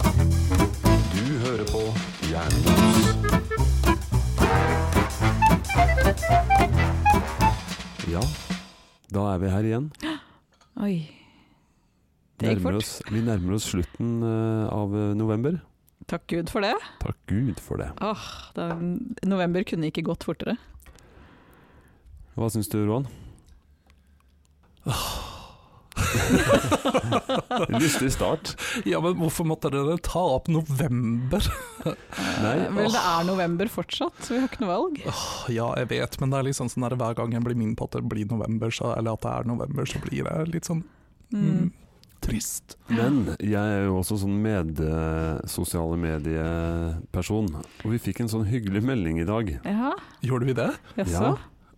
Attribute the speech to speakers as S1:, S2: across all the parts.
S1: Du hører på Jernbos. Ja, da er vi her igjen.
S2: Oi. Det gikk
S1: Nærmer
S2: fort.
S1: oss, vi nærmer oss slutten eh, av eh, november.
S2: Takk Gud for det.
S1: Takk Gud for det.
S2: Åh, det er, november kunne ikke gått fortere.
S1: Hva syns du, Roan?
S2: Ah.
S1: Lystig start.
S3: Ja, men hvorfor måtte dere ta opp november?
S1: Nei,
S2: Eh, Vel, det er november fortsatt, så vi har ikke noe valg.
S3: Ja, jeg vet, men det er liksom sånn der hver gang jeg blir min på at det blir november, så, eller at det er november, så blir det litt sånn mm,
S2: Mm.
S3: trist.
S1: Men jeg er jo også sånn med sosiale medieperson, og vi fikk en sånn hyggelig melding i dag.
S2: Ja,
S3: Gjorde vi det?
S1: Ja.
S2: jaså.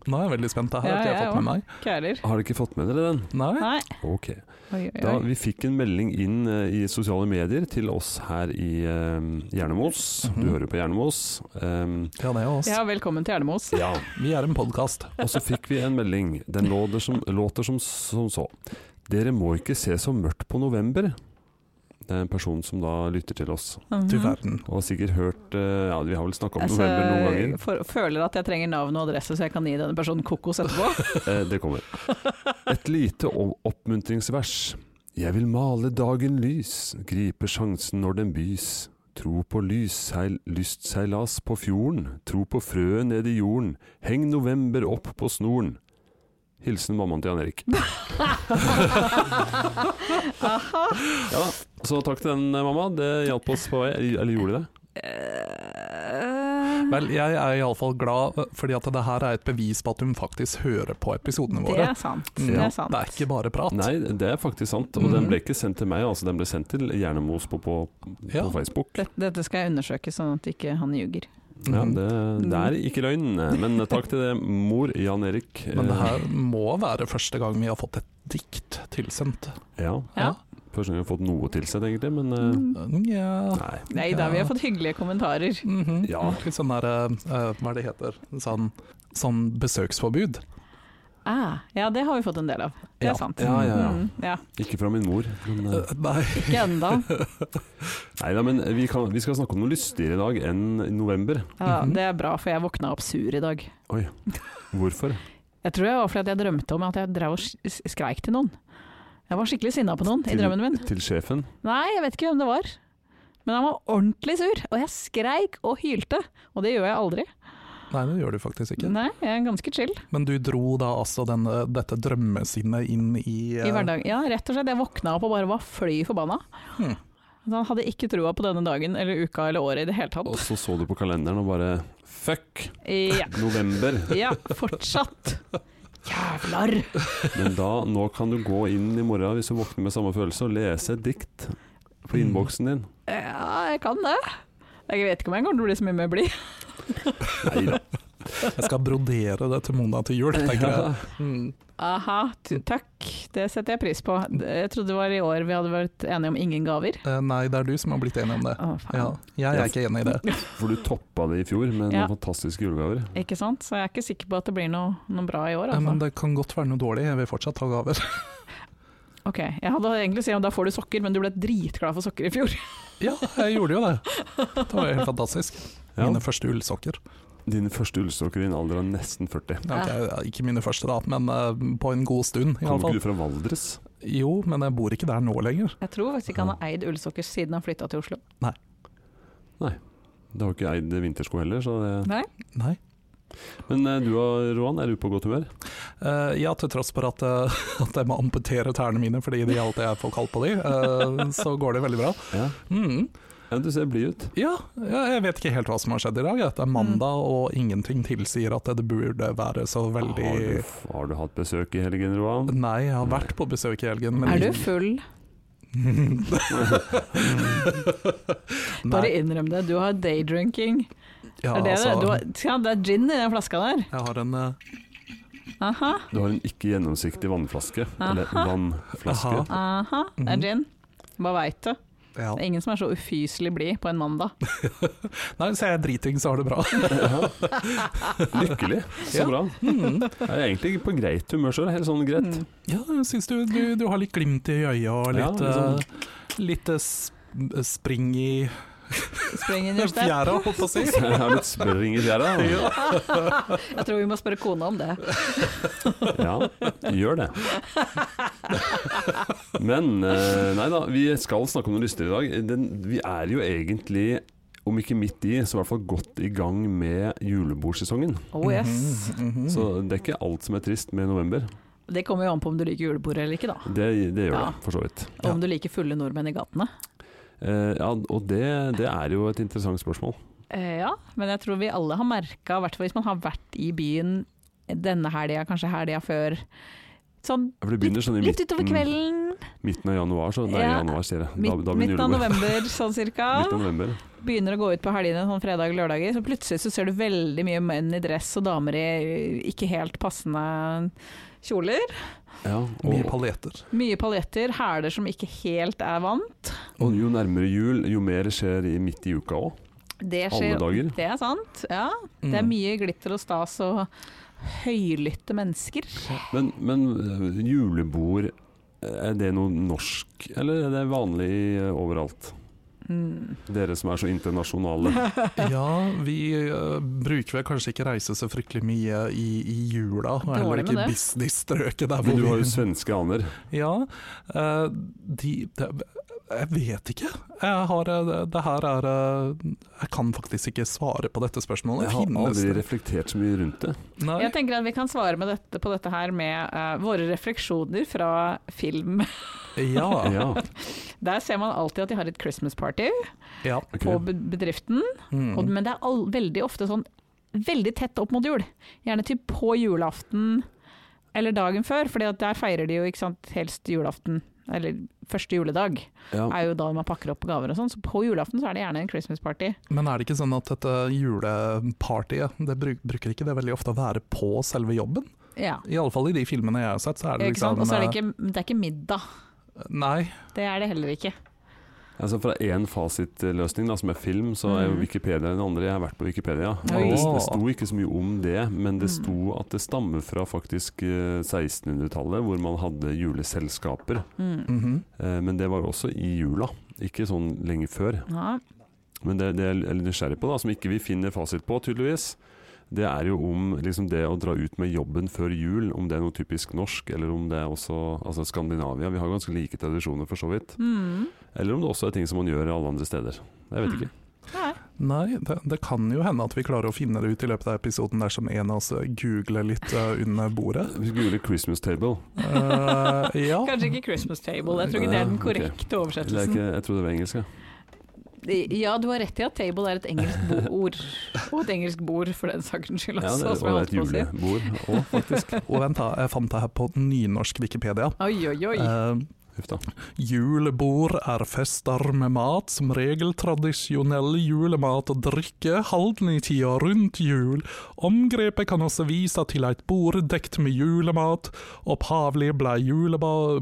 S3: Nå er jeg veldig spent. Det her
S2: Ja,
S3: har ikke jeg
S2: jeg
S3: fått med meg.
S2: Ikke jeg heller.
S1: Har dere ikke fått med dere den?
S3: Nei?
S2: Nei.
S1: Ok.
S2: Oi, oi,
S1: Da,
S2: oi.
S1: vi fikk en melding inn eh, i sosiale medier til oss her i eh, Hjernemos. Du
S3: Mhm.
S1: hører på Hjernemos. Um,
S3: Ja, det er oss.
S2: Ja, velkommen til Ernemos.
S1: ja.
S3: Vi er en podkast.
S1: Og så fikk vi en melding. Den låter som, låter som, som så. Dere må ikke se så mørkt på november. Det er en person som da lytter til oss.
S2: Mhm.
S3: Du verden.
S1: Og har sikkert hørt eh, Ja, vi har vel snakka om
S2: Altså,
S1: november noen ganger.
S2: jeg for, føler at jeg trenger navn og adresse, så jeg kan gi denne personen kokos etterpå.
S1: Eh, det kommer. Et lite o- oppmuntringsvers. Jeg vil male dagen lys, gripe sjansen når den bys. Tro på lysseil, lystseilas på fjorden, tro på frøet ned i jorden, heng november opp på snoren. Hilsen mammaen til Jan Erik.
S2: Eh,
S1: Ja, så takk til den, eh, mamma. Det hjalp oss på vei. Eller eller gjorde det?
S2: Eh,
S3: Vel, jeg er iallfall glad, fordi at det her er et bevis på at hun faktisk hører på episodene
S2: det
S3: våre.
S2: er sant.
S3: Mm,
S2: Det er sant.
S3: Det er ikke bare prat.
S1: Nei, det er faktisk sant. Og den ble ikke sendt til meg, altså. Den ble sendt til Hjernemos på, på, på
S3: Ja.
S1: Facebook.
S2: Dette, dette skal jeg undersøke, sånn at ikke han ljuger.
S1: Ja,
S3: Mhm.
S1: det, det er ikke løgn, men takk til det, mor Jan Erik.
S3: Men det
S1: Eh,
S3: her må være første gang vi har fått et dikt tilsendt.
S1: Eh, Ja,
S2: Ja. Mm.
S1: Første gang jeg har fått noe tilsendt, egentlig, men eh,
S3: Mm, Nja
S1: nei.
S2: Nei da, vi har fått hyggelige kommentarer.
S3: Mhm.
S1: Ja.
S3: Litt sånn der eh, eh, Hva er det heter? Sånn, sånn besøksforbud.
S2: Ah, ja, det har vi fått en del av. Det
S3: Ja.
S2: er sant.
S1: Ja, ja, ja.
S2: Mm, ja.
S1: Ikke fra min mor. Men, eh,
S3: Eh, nei.
S2: Ikke ennå.
S1: nei da, men vi, kan, vi skal snakke om noe lystigere i dag enn i november.
S2: Ja,
S3: Mhm.
S2: det er bra, for jeg våkna opp sur i dag.
S1: Hvorfor?
S2: Jeg tror det var fordi at jeg drømte om at jeg drev og s- s- skreik til noen. Jeg var skikkelig sinna på noen i
S1: Til-
S2: drømmen min.
S1: Til sjefen.
S2: Nei, jeg vet ikke hvem det var. Men han var ordentlig sur, og jeg skreik og hylte. Og det gjør jeg aldri.
S3: nei, det gjør du faktisk ikke.
S2: Nei, jeg er ganske chill
S3: Men du dro da altså denne, dette drømmesinnet inn i, eh,
S2: i hverdagen. Ja, rett og slett. Jeg våkna opp og bare var fly forbanna.
S3: Hm.
S2: Så Han hadde ikke trua på denne dagen eller uka eller året i det hele tatt.
S1: Og så så du på kalenderen og bare Fuck!
S2: Ja,
S1: November.
S2: ja fortsatt. Jævlar!
S1: Men da, nå kan du gå inn i morgen hvis du våkner med samme følelse, og lese et dikt på
S3: Mm.
S1: innboksen din.
S2: Ja, jeg kan det. Jeg vet ikke om jeg kommer til å bli så mye mer blid.
S1: Nei da.
S3: Jeg skal brodere det til Mona til jul, tenker jeg. Mm.
S2: Aha, tu- takk. Det setter jeg pris på. Jeg trodde det var i år vi hadde vært enige om ingen gaver.
S3: Eh, nei, det er du som har blitt enig om det.
S2: Å, faen.
S3: Ja, jeg er ikke enig i det.
S1: For du toppa det i fjor med
S2: Ja.
S1: noen fantastiske julegaver.
S2: Ikke sant? Så jeg er ikke sikker på at det blir noe, noe bra i år.
S3: Eh, Men
S2: Altså.
S3: det kan godt være noe dårlig, jeg vil fortsatt ha gaver.
S2: Ok, Jeg hadde egentlig sagt at da får du sokker, men du ble dritglad for sokker i fjor.
S3: Ja, jeg gjorde jo det. Det var jo helt fantastisk.
S1: Ja.
S3: Mine første ullsokker.
S1: Dine første ullsokker i en alder av nesten 40.
S3: Ja, ok, ja, ikke mine første, da, men eh, på en god stund. i alle
S1: Kommer
S3: fall.
S1: ikke du fra Valdres?
S3: Jo, men jeg bor ikke der nå lenger.
S2: Jeg tror faktisk ikke han har eid ullsokker siden han flytta til Oslo.
S1: Det har jo ikke eid vintersko heller. Så det.
S2: Nei?
S3: Nei.
S1: Men eh, du og Roan, er du på godt humør?
S3: Eh, ja, til tross for at, eh, at jeg må amputere tærne mine fordi de alltid er for kalde på de, eh, så går det veldig bra.
S1: Ja.
S3: Mm.
S1: ja du ser blid ut.
S3: Ja, ja, jeg vet ikke helt hva som har skjedd i dag. Det er mandag,
S2: Mm.
S3: og ingenting tilsier at det burde være så
S1: Har, du,
S3: veldig
S1: f- har du hatt besøk i helgen, Roan?
S3: Nei, jeg har vært på besøk i helgen, men
S2: Er du full? Bare
S3: Nei,
S2: innrøm det. Du har daydrinking.
S3: ja,
S2: er det det? Du
S3: altså,
S2: har, ja, det er gin i den flaska der.
S3: jeg har en eh,
S2: Aha,
S1: Du har en ikke gjennomsiktig vannflaske. Eller vannflaske.
S3: Aha.
S2: aha. Det er gin. Bare veit det.
S3: Mhm. Ja.
S2: Det er ingen som er så ufyselig blid på en mandag.
S3: Nei, så jeg er driting, så har det bra.
S1: Lykkelig. Så
S3: Ja.
S1: bra.
S3: Mm.
S1: Jeg er egentlig på greit humør sjøl, helt sånn
S2: Mm.
S1: greit.
S3: Ja, jeg syns du, du, du har litt glimt i øyet og
S1: Ja,
S3: litt,
S1: liksom.
S3: eh, litt eh, sp- spring i
S2: Spring in your step.
S3: fjæra, holdt på å si.
S1: Så Jeg har litt spring i fjæra.
S3: Ja.
S2: Jeg tror vi må spørre kona om det.
S1: Ja, gjør det. Men eh, nei da, vi skal snakke om noe lystigere i dag. Den, vi er jo egentlig, om ikke midt i, så i hvert fall godt i gang med julebordsesongen.
S2: Oh yes.
S3: Mhm, mhm.
S1: Så det er ikke alt som er trist med november.
S2: Det kommer jo an på om du liker julebord eller ikke, da.
S1: Det, det gjør
S2: Ja.
S1: det, for så vidt.
S2: Og om du liker fulle nordmenn i gatene.
S1: Eh, ja, og det, det er jo et interessant spørsmål.
S2: Eh, ja, men jeg tror vi alle har merka, i hvert fall hvis man har vært i byen denne helga, kanskje helga før. Sånn
S1: For det begynner sånn i
S2: litt utover
S1: midten, mm,
S2: kvelden,
S1: midten av januar, så nei,
S2: Ja.
S1: januar, sier jeg. Da,
S2: midt,
S1: da
S2: midten
S1: begynner
S2: av
S1: julebord.
S2: november sånn cirka.
S1: Midten av november.
S2: Begynner å gå ut på helgene sånn fredag og lørdager, så plutselig så ser du veldig mye menn i dress og damer i ikke helt passende kjoler.
S1: Ja,
S3: Mye
S1: og,
S3: paljetter.
S2: Mye paljetter, hæler som ikke helt er vant.
S1: og jo nærmere jul, jo mer skjer i midt i uka òg.
S2: Det
S1: Alle
S2: skjer.
S1: dager.
S2: Det er sant, ja.
S3: Mm.
S2: Det er mye glitter og stas og høylytte mennesker.
S1: Men, men øh, julebord, er det noe norsk, eller er det vanlig øh, overalt?
S2: Mm.
S1: Dere som er så internasjonale.
S3: Ja, vi eh, bruker vel kanskje ikke reise så fryktelig mye i, i jula, og
S2: Dårlig
S3: heller
S2: med
S3: ikke i
S2: det.
S3: business-strøket der
S1: Men du har
S3: hvor
S1: jo
S3: vi
S1: svenske aner.
S3: Ja, eh, de, det- Jeg vet ikke. Jeg har eh, det, det her er eh, Jeg kan faktisk ikke svare på dette spørsmålet.
S1: Jeg har
S3: Finnes
S1: aldri
S3: det?
S1: reflektert så mye rundt det.
S3: Nei.
S2: Jeg tenker at vi kan svare med dette, på dette her med eh, våre refleksjoner fra film.
S3: Ja.
S2: Ah.
S1: Ja,
S2: Der ser man alltid at de har et Christmas party
S3: ja.
S1: ok.
S2: på be- bedriften,
S3: Mm.
S2: og, men det er all, veldig ofte sånn veldig tett opp mot jul. Gjerne til på julaften eller dagen før, for der feirer de jo ikke sant, helst julaften. Eller første juledag
S1: Ja.
S2: er jo da man pakker opp gaver og sånn, så på julaften så er det gjerne en Christmas party.
S3: Men er det ikke sånn at dette julepartyet, det bruk, bruker ikke det veldig ofte å være på selve jobben?
S2: Ja.
S3: Iallfall i de filmene jeg har sett, så er det
S2: Ikke sant?
S3: liksom
S2: Og så er det ikke, det er ikke middag.
S3: eh, Nei.
S2: Det er det heller ikke.
S1: Altså fra én fasitløsning, da, som er film, så er jo
S2: Mm.
S1: Wikipedia den andre. Jeg har vært på Wikipedia.
S2: Oi.
S1: Og det, det sto ikke så mye om det, men det
S2: Mm.
S1: sto at det stammer fra faktisk eh, 1600-tallet, hvor man hadde juleselskaper.
S2: Mm.
S3: Mhm.
S1: Eh, Men det var jo også i jula, ikke sånn lenge før.
S2: Ja.
S1: Men det, det jeg er litt nysgjerrig på, da, som ikke vi finner fasit på, tydeligvis, det er jo om liksom, det å dra ut med jobben før jul, om det er noe typisk norsk, eller om det er også altså, Skandinavia. Vi har ganske like tradisjoner, for så vidt.
S2: Mm.
S1: Eller om det også er ting som man gjør alle andre steder. Jeg vet ikke.
S2: Nei.
S3: Nei, det, det kan jo hende at vi klarer å finne det ut i løpet av episoden dersom en av oss googler litt eh, under bordet.
S1: Vi googler 'Christmas table'.
S3: Eh, ja.
S2: Kanskje ikke Christmas table, jeg tror ikke det er den korrekte
S1: Eller er
S2: oversettelsen.
S1: ikke, jeg tror det var engelsk, ja.
S2: Ja, du har rett i at table er et engelsk boord, og et engelsk bord for den sakens skyld
S1: ja
S2: også.
S1: det, og
S2: som jeg
S1: det er et
S2: holdt på å si.
S1: julebord òg, faktisk.
S3: Og vent, da, jeg fant det her på nynorsk Wikipedia.
S2: Oi, oi, oi.
S3: Eh,
S1: Huff da.
S3: julebord er fester med mat, som regel tradisjonell julemat og drikke, halvnitida rundt jul. Omgrepet kan også vise til et bord dekt med julemat. Opphavlig ble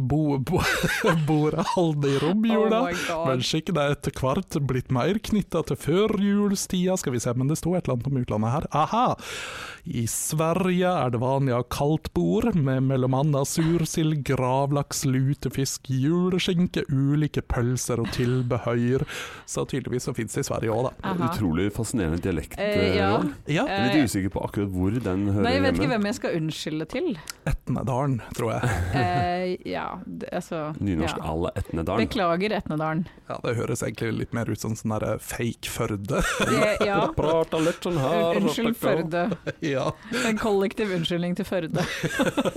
S3: julebordet holdt i romjula.
S2: Oh my god.
S3: Men skikk det er etter hvert blitt mer knytta til førjulstida, skal vi se, men det sto et eller annet om utlandet her. Aha! I Sverige er det vanlig å ha kaldt bord, med mellom annet sursild, gravlaks, lutefisk, juleskinke, ulike pølser og tilbehør. Så tydeligvis så fins det i Sverige òg, da.
S2: Aha.
S1: Utrolig fascinerende dialekt.
S2: Eh, ja. eh,
S1: Roald.
S3: Ja,
S1: Jeg er litt usikker på akkurat hvor den hører
S2: Nei, jeg vet
S1: hjemme.
S2: ikke hvem jeg skal unnskylde til.
S3: Etnedalen, tror jeg.
S2: Eh, ja, det- altså
S1: Nynorsk
S2: ja.
S1: à la Etnedalen.
S2: Beklager Etnedalen.
S3: Ja, Det høres egentlig litt mer ut som sånn der fake Førde.
S2: Det- Ja.
S1: Prata litt sånn her
S2: Unnskyld Førde.
S3: ja.
S2: En kollektiv unnskyldning til Førde.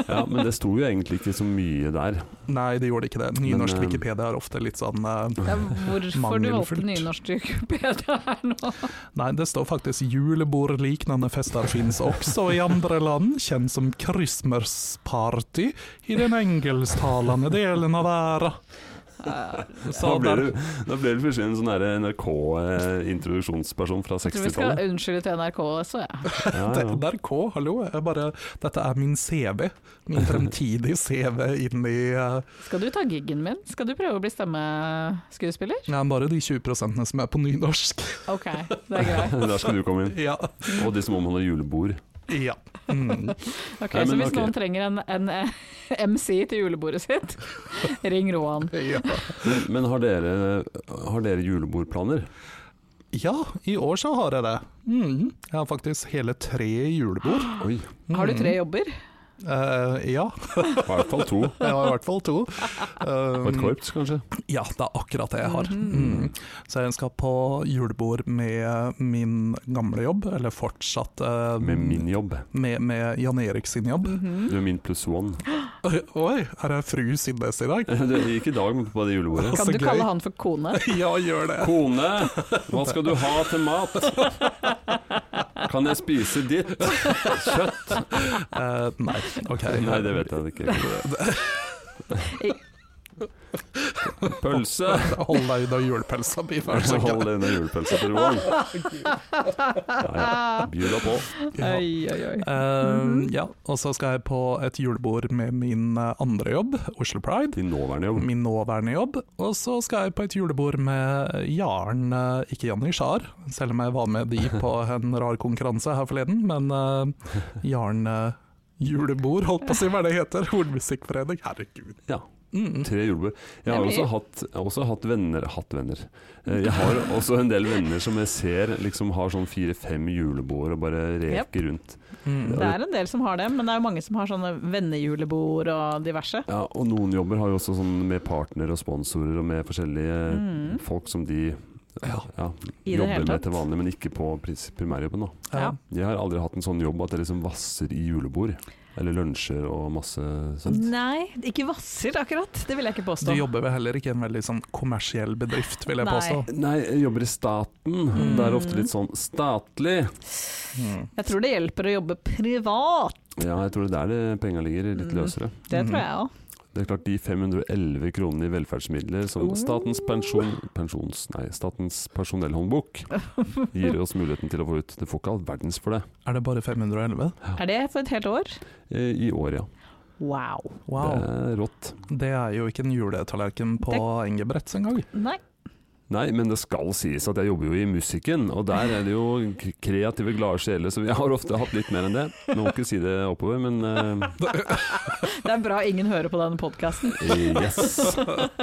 S1: Ja, men det sto jo egentlig ikke så mye der.
S3: Nei, det gjorde ikke det. Nynorsk
S1: Men, eh,
S3: Wikipedia er ofte litt sånn eh,
S2: Det er hvorfor du valgte
S3: Mangelfullt.
S2: nynorsk Wikipedia her nå.
S3: Nei, det står faktisk julebordliknende fester finnes også i andre land, kjent som Christmas party i den engelsktalende delen av verden.
S2: Ja,
S3: Så
S1: Da
S2: Sånn
S1: ble
S3: der-
S1: du, da ble du plutselig en sånn NRK-introduksjonsperson fra
S2: jeg tror vi skal
S1: 60-tallet.
S2: unnskylde til NRK også, ja.
S1: Ja,
S3: Det-
S1: ja.
S3: NRK, hallo. Jeg bare, dette er min CV. Min fremtidige CV inn i eh,
S2: Skal du ta giggen min? Skal du prøve å bli stemmeskuespiller?
S3: ja, bare de 20 som er på nynorsk.
S2: Ok, det er greit.
S1: Der skal du komme inn.
S3: Ja.
S1: Og de som omhandler julebord.
S3: ja. Mm.
S2: Ok,
S1: Nei,
S2: så
S1: men
S2: hvis
S1: ok.
S2: noen trenger en, en eh, MC til julebordet sitt, ring Roan.
S3: ja.
S1: Men, men har, dere, har dere julebordplaner?
S3: Ja, i år så har jeg det. Mm. Jeg har faktisk hele tre julebord.
S1: Oi,
S2: Har du
S3: Mm.
S2: tre jobber?
S3: Eh, ja,
S1: i hvert fall to.
S3: jeg har i hvert fall to.
S1: Og et
S3: Um,
S1: korps, kanskje.
S3: ja, det er akkurat det jeg har.
S2: Mhm.
S3: Mm. Så jeg skal på julebord med min gamle jobb, eller fortsatt eh,
S1: Med min jobb.
S3: med, med Jan Erik sin jobb.
S2: Mhm.
S1: Du er min pluss one.
S3: Oi, Oi, her er fru Sinnes i dag.
S1: Du gikk i dag men på det julebordet.
S2: Kan
S3: så
S2: du
S3: gøy.
S2: kalle han for kone?
S3: Ja, gjør det.
S1: Kone, hva skal du ha til mat? Kan jeg spise ditt kjøtt?
S3: Eh, nei, ok.
S1: Nei, det vet jeg ikke. Pølse.
S3: Hold deg unna julepelsa mi, vær så
S1: Hold
S3: snill.
S1: deg unna julepølsa til Roan. Nei, Bjuda på.
S3: Ja.
S2: Oi, oi, oi.
S3: Eh, ja, og så skal jeg på et julebord med min eh, andre jobb, Oslo Pride.
S1: Din nåværende jobb.
S3: min nåværende jobb. Og så skal jeg på et julebord med Jaren, eh, ikke Janni Sjar, selv om jeg var med de på en rar konkurranse her forleden, men eh, Jaren eh, julebord, holdt på å si hva det heter, Hornmusikkforening, herregud.
S1: Ja.
S3: Mm.
S1: Tre julebord. Jeg har
S2: Det
S1: også
S2: blir-
S1: hatt, jeg har også hatt venner Hatt venner. Eh, Jeg har også en del venner som jeg ser liksom har sånn fire-fem julebord og bare reker rundt.
S3: Mm.
S2: Det er en del som har det, men det er jo mange som har sånne vennejulebord og diverse.
S1: Ja, og noen jobber har jo også sånn med partner og sponsorer og med forskjellige
S2: Mm.
S1: folk som de
S3: Ja.
S1: ja,
S2: I
S1: Eh,
S2: det hele
S1: jobber med
S2: tatt.
S1: til vanlig, men ikke på pris- primærjobben. Da.
S3: Ja.
S2: Ja.
S1: Jeg har aldri hatt en sånn jobb at jeg liksom vasser i julebord. Eller lunsjer og masse sånt.
S2: Nei, ikke vasser akkurat. Det vil jeg ikke
S3: Du
S2: påstå.
S3: jobber vel heller ikke i en veldig sånn kommersiell bedrift, vil jeg
S2: Nei.
S3: påstå.
S1: Nei, jeg jobber i staten.
S2: Mm.
S1: Det er ofte litt sånn statlig.
S3: Mm.
S2: Jeg tror det hjelper å jobbe privat.
S1: Ja, jeg tror det er der det penga ligger, litt
S2: Mm.
S1: løsere.
S2: Det
S3: Mhm.
S2: tror jeg òg.
S1: Det er klart de 511 kronene i velferdsmidler som
S2: Oh.
S1: Statens pensjon... Pensjons... Nei, Statens personellhåndbok gir oss muligheten til å få ut. Det får ikke all verdens for det.
S3: Er det bare 511?
S2: Er det for et helt år?
S1: Eh, I år, ja.
S2: Wow.
S3: Wow,
S1: Det er rått.
S3: det er jo ikke en juletallerken på Engebretts engang.
S2: Nei.
S1: Nei, men det skal sies at jeg jobber jo i musikken, og der er det jo k- kreative, glade sjeler, så vi har ofte hatt litt mer enn det. Nå må jeg ikke si det oppover, men eh,
S2: Det er bra ingen hører på denne podkasten.
S1: yes.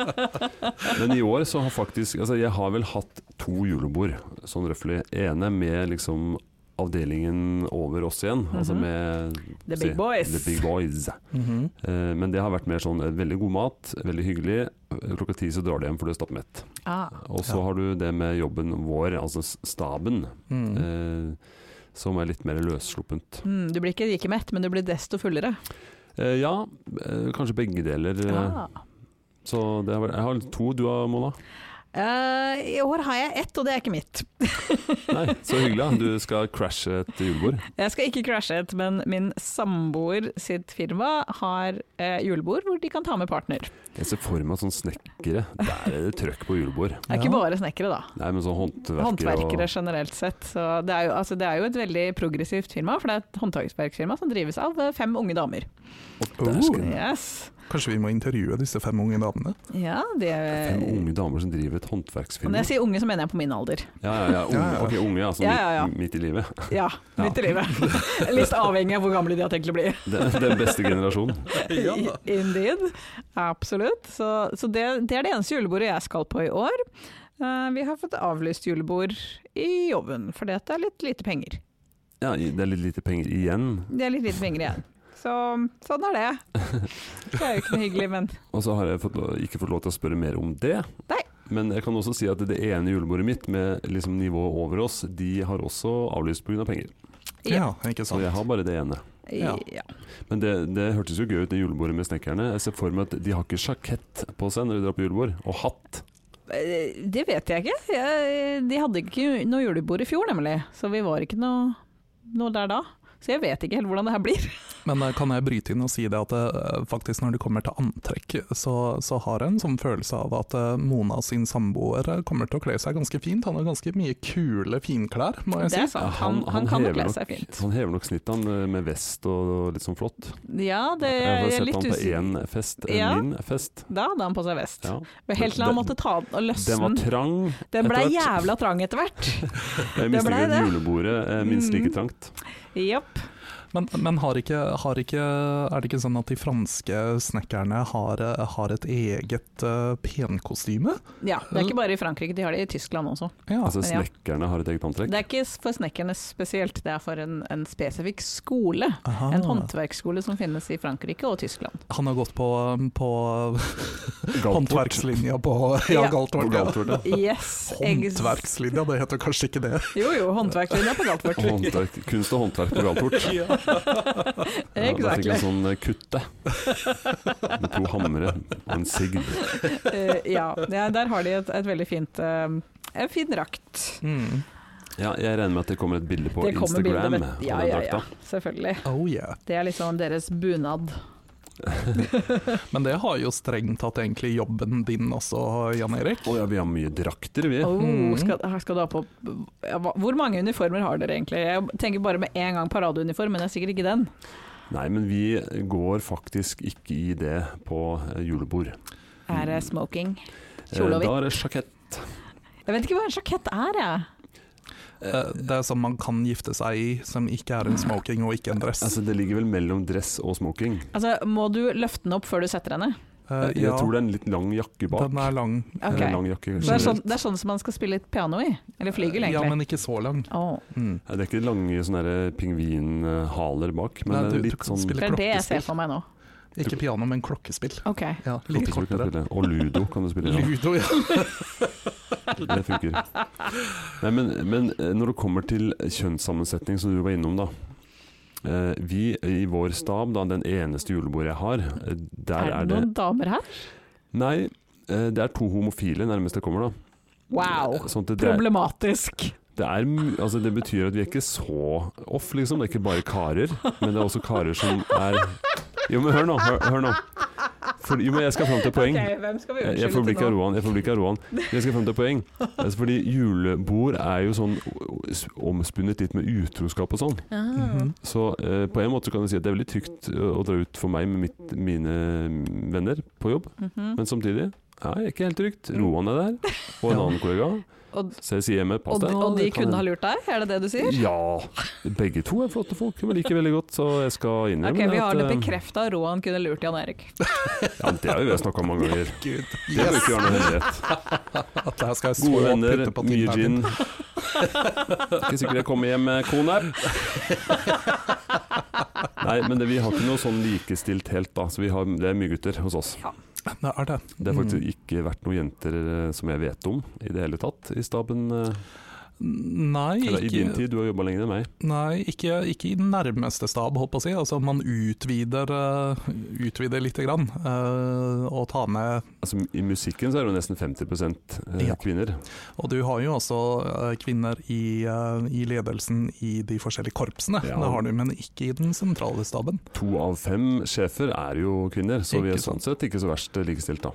S1: Men i år så har faktisk Altså, jeg har vel hatt to julebord, sånn røftlig. Ene med liksom avdelingen over oss igjen, altså
S2: Mhm.
S1: med
S2: The Big Boys.
S1: The Big Boys.
S3: Mhm.
S1: Eh, men det har vært mer sånn eh, veldig god mat, veldig hyggelig. Klokka ti så drar du hjem for du er stappmett.
S2: Ah.
S1: Og så
S3: Ja.
S1: har du det med jobben vår, altså s- staben.
S3: Mm.
S1: eh, som er litt mer løssluppent.
S2: Mm, du blir ikke like mett, men du blir desto fullere.
S1: Eh, ja, eh, kanskje begge deler. eh,
S2: Ah.
S1: Så det har, vært- jeg har to du har, Mona.
S2: Eh, I år har jeg ett, og det er ikke mitt.
S1: Nei, så hyggelig. ja. Du skal crashe et julebord.
S2: Jeg skal ikke crashe et, men min samboer sitt firma har eh, julebord hvor de kan ta med partner.
S1: Jeg ser for meg sånn snekkere. Der er det trøkk på julebord.
S2: Det er ikke
S3: Ja.
S2: bare snekkere, da.
S1: Nei, men sånn håndverkere,
S2: Håndverkere generelt sett. Så det, er jo, altså, det er jo et veldig progressivt firma, for det er et håndverksfirma som drives av eh, fem unge damer.
S1: og Der skal det-
S2: Yes.
S3: Oh. Kanskje vi må intervjue disse fem unge damene?
S2: Ja, det
S1: Fem unge damer som driver et håndverksfirma.
S2: Og Når eh, jeg sier unge, så mener jeg på min alder.
S1: Ja, ja, ja, unge, ok, unge ja, sånn
S2: Ja, ja, ja.
S1: Midt, midt i livet.
S2: Ja, midt i livet. Litt avhengig av hvor gamle de har tenkt å bli.
S1: Den, den beste generasjonen.
S2: I- Indeed. Absolutt. Så, så det, det er det eneste julebordet jeg skal på i år. Eh, vi har fått avlyst julebord i jobben, for det er litt lite penger.
S1: Ja, i- det er litt lite penger igjen.
S2: Det er litt lite penger igjen. Så sånn er det. Det er jo ikke noe hyggelig, men
S1: Og så har jeg fått, lo- ikke fått lov til å spørre mer om det.
S2: Nei.
S1: Men jeg kan også si at det ene julebordet mitt, med liksom nivået over oss, de har også avlyst pga. Av penger.
S2: ja.
S3: Ja, ikke
S1: Så
S3: sant.
S1: jeg har bare det ene.
S2: ja.
S1: Men det, det hørtes jo gøy ut, det julebordet med snekkerne. Jeg ser for meg at de har ikke sjakett på seg når de drar på julebord, og hatt.
S2: Eh, Det vet jeg ikke. Jeg, de hadde ikke noe julebord i fjor, nemlig. Så vi var ikke noe, noe der da. Så jeg vet ikke helt hvordan det her blir.
S3: Men eh, kan jeg bryte inn og si det at eh, faktisk når det kommer til antrekk, så, så har jeg en sånn følelse av at eh, Mona sin samboer eh, kommer til å kle seg ganske fint. Han har ganske mye kule finklær, må jeg
S2: Det
S3: si.
S2: er sant. Han, han kan nok
S1: hever
S2: kle
S1: nok-
S2: seg fint.
S1: Han hever nok snittet han eh, med vest og og litt sånn flott.
S2: Ja, det
S1: Jeg
S2: Eh, jeg
S1: har
S2: er
S1: sett
S2: litt
S1: han på
S2: usikker.
S1: én fest, eh,
S2: Ja.
S1: min fest.
S2: Da hadde han på seg vest.
S1: Ja.
S2: Helt til han
S1: Den-
S2: måtte ta den og løsne
S1: Den var
S2: den.
S1: trang.
S2: Den ble
S1: etter hvert.
S2: jævla trang etter hvert.
S1: Jeg
S2: Det ble
S1: misliker
S2: det.
S1: julebordet eh, minst like
S2: Mm.
S1: trangt.
S2: Jepp.
S3: Men, men har ikke, har ikke, er det ikke sånn at de franske snekkerne har, eh, har et eget eh, penkostyme?
S2: Ja, det
S1: Mm.
S2: er ikke bare i Frankrike, de har det i Tyskland også.
S3: Ja.
S1: Altså,
S2: men Ah, ja.
S1: snekkerne har et eget antrekk.
S2: Det er ikke for snekkerne spesielt, det er for en, en spesifikk skole.
S3: Aha.
S1: Ah.
S2: En håndverksskole som finnes i Frankrike og Tyskland.
S3: Han har gått på, eh, på
S1: Galtvort.
S3: håndverkslinja på
S2: Ja.
S3: Ja,
S1: På
S3: Galtvort. Ja.
S1: Galtvort, ja.
S2: Yes. eggs-
S3: Håndverkslinja, det heter kanskje ikke det?
S2: Jo jo, håndverkslinja på Galtvort.
S1: Og Håndverk, kunst og håndverk på Galtvort. Ja, der fikk jeg
S2: Exactly.
S1: en sånn eh, kutte. Med to hamre og en sigd.
S2: Eh, ja, ja, der har de et, et veldig fint eh, en fin drakt.
S3: Mm.
S1: Ja, jeg regner med at det kommer et bilde på
S2: det kommer bilder
S1: Instagram.
S2: med
S1: av
S2: Ja,
S1: den
S2: ja, ja.
S1: drakta.
S2: Selvfølgelig.
S3: Oh yeah.
S2: Det er liksom deres bunad.
S3: Men det har jo strengt tatt egentlig jobben din også, Jan Erik.
S1: Å ja, vi har mye drakter, vi.
S2: Oh,
S3: Mm.
S2: skal, her skal du ha på ja, hva- Hvor mange uniformer har dere egentlig? Jeg tenker bare med en gang paradeuniform, men det er sikkert ikke den.
S1: Nei, men vi går faktisk ikke i det på eh, julebord.
S2: Er det smoking?
S1: Eh,
S2: Kjole
S1: Da
S2: og hvitt?
S1: er det sjakett.
S2: Jeg vet ikke hva en sjakett er, jeg.
S3: Eh, Det er sånn man kan gifte seg i, som ikke er en smoking og ikke en dress.
S1: Altså, det ligger vel mellom dress og smoking.
S2: Altså, må du løfte den opp før du setter henne?
S3: Eh,
S1: Jeg
S3: ja,
S1: tror det er en litt lang jakke bak.
S3: den er lang. Eh,
S2: Ok.
S1: Eller lang jakke,
S2: Det er,
S1: generelt.
S2: sånn, det er sånn som man skal spille litt piano i. Eller flygel,
S3: Ja,
S2: egentlig.
S3: men ikke så lang.
S2: Åh,
S3: Mm.
S1: Ja, Det er ikke lange sånne der pingvinhaler bak, men
S3: Nei,
S1: det
S3: du-
S1: er
S3: du
S1: litt
S3: kan
S1: sånn
S3: spille-
S2: det er det jeg
S3: klokkespill.
S2: ser for meg nå.
S3: Ikke piano, men klokkespill.
S2: Ok.
S3: Ja, litt
S1: klokkespill kan du
S3: kortere.
S1: spille. Og ludo kan du spille. Ja.
S3: Ludo, ja.
S1: Det funker. Nei, men, men eh, når det kommer til kjønnssammensetning, som du var innom, da. eh, Vi i vår stab, da, den eneste julebordet jeg har, eh,
S2: Er
S1: der
S2: det
S1: er det
S2: noen damer her?
S1: Nei, eh, det er to homofile nærmest jeg kommer, da.
S2: Wow.
S1: Sånn at det, er,
S2: Problematisk.
S1: det, er, mu- altså, det betyr at vi er ikke så off, liksom. Det er ikke bare karer, men det er også karer som er Jo, men hør nå. Hør, hør nå. For, jo, men jeg skal fram til poeng.
S2: Ok, hvem skal vi
S1: Eh, Jeg, jeg får
S2: unnskylde
S1: blikket
S2: til
S1: av
S2: nå?
S1: roen. Jeg får blikket av roen. Jeg skal frem til poeng. Altså, Fordi julebord er jo sånn o- o- omspunnet litt med utroskap og sånn.
S2: Ah.
S3: Mhm.
S1: Så eh, på en måte så kan du si at det er veldig trygt eh, å dra ut for meg med mitt, mine venner på jobb,
S2: Mhm.
S1: men samtidig Nei, ikke helt trygt. Roan er der, og en annen kollega.
S2: Og,
S1: Så jeg sier hjemme pass
S2: og,
S1: deg.
S2: de, og de kunne ha lurt deg, er det det du sier?
S1: Ja. Begge to er flotte folk, men liker veldig godt, så jeg skal innrømme
S2: Ok, vi har det
S1: eh,
S2: bekrefta, Roan kunne lurt Jan Erik.
S1: Ja, det har jo vi snakka om mange ganger.
S3: Gud,
S1: Det
S3: yes.
S1: bruker Arne Henriette.
S3: At det her skal jeg så
S1: Gode venner,
S3: putte på
S1: mye gin.
S3: tittelen.
S1: Ikke sikkert jeg kommer hjem med kone. Nei, men det, vi har ikke noe sånn likestilt helt, da. Så vi har, det er mye gutter hos oss.
S3: Det er det. Mm.
S1: Det har faktisk ikke vært noen jenter eh, som jeg vet om i det hele tatt i staben. eh,
S3: Mm. Nei,
S1: Eller i din
S3: ikke,
S1: tid, du har jobba lenger enn meg.
S3: nei ikke, ikke i den nærmeste stab, holdt på å si. Altså, man utvider, eh, utvider lite grann, eh, og tar med
S1: Altså, I musikken så er det jo nesten 50 eh,
S3: Ja.
S1: kvinner.
S3: Og du har jo også eh, kvinner i, eh, i ledelsen i de forskjellige korpsene.
S1: Ja.
S3: Det har du, men ikke i den sentrale staben.
S1: To av fem sjefer er jo kvinner, så vi er
S3: Ikke
S1: sånn sett ikke så verst eh, likestilt, da.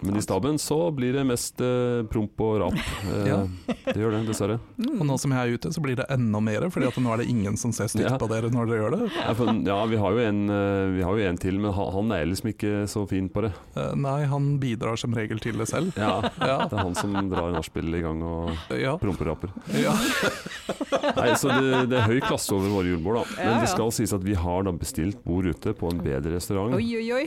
S1: Men i staben så blir det mest eh, promp og rap. Eh,
S3: Ja.
S1: Det gjør det, dessverre.
S3: Og nå som jeg er ute, så blir det enda mer, for nå er det ingen som ser stygt
S1: Ja.
S3: på dere når dere gjør det.
S1: Ja, for, ja vi, har jo en, eh, vi har jo en til, men han, han er liksom ikke så fin på det.
S3: Eh, Nei, han bidrar som regel til det selv.
S1: Ja,
S3: Ja,
S1: Det er han som drar nachspiel i gang og
S3: ja,
S1: promperaper.
S3: ja.
S1: Nei, så det, det er høy klasse over våre julebord, da.
S2: Ja,
S1: Men
S2: ja.
S1: det skal sies at vi har da bestilt bord ute på en bedre restaurant,
S2: Oi, oi, oi.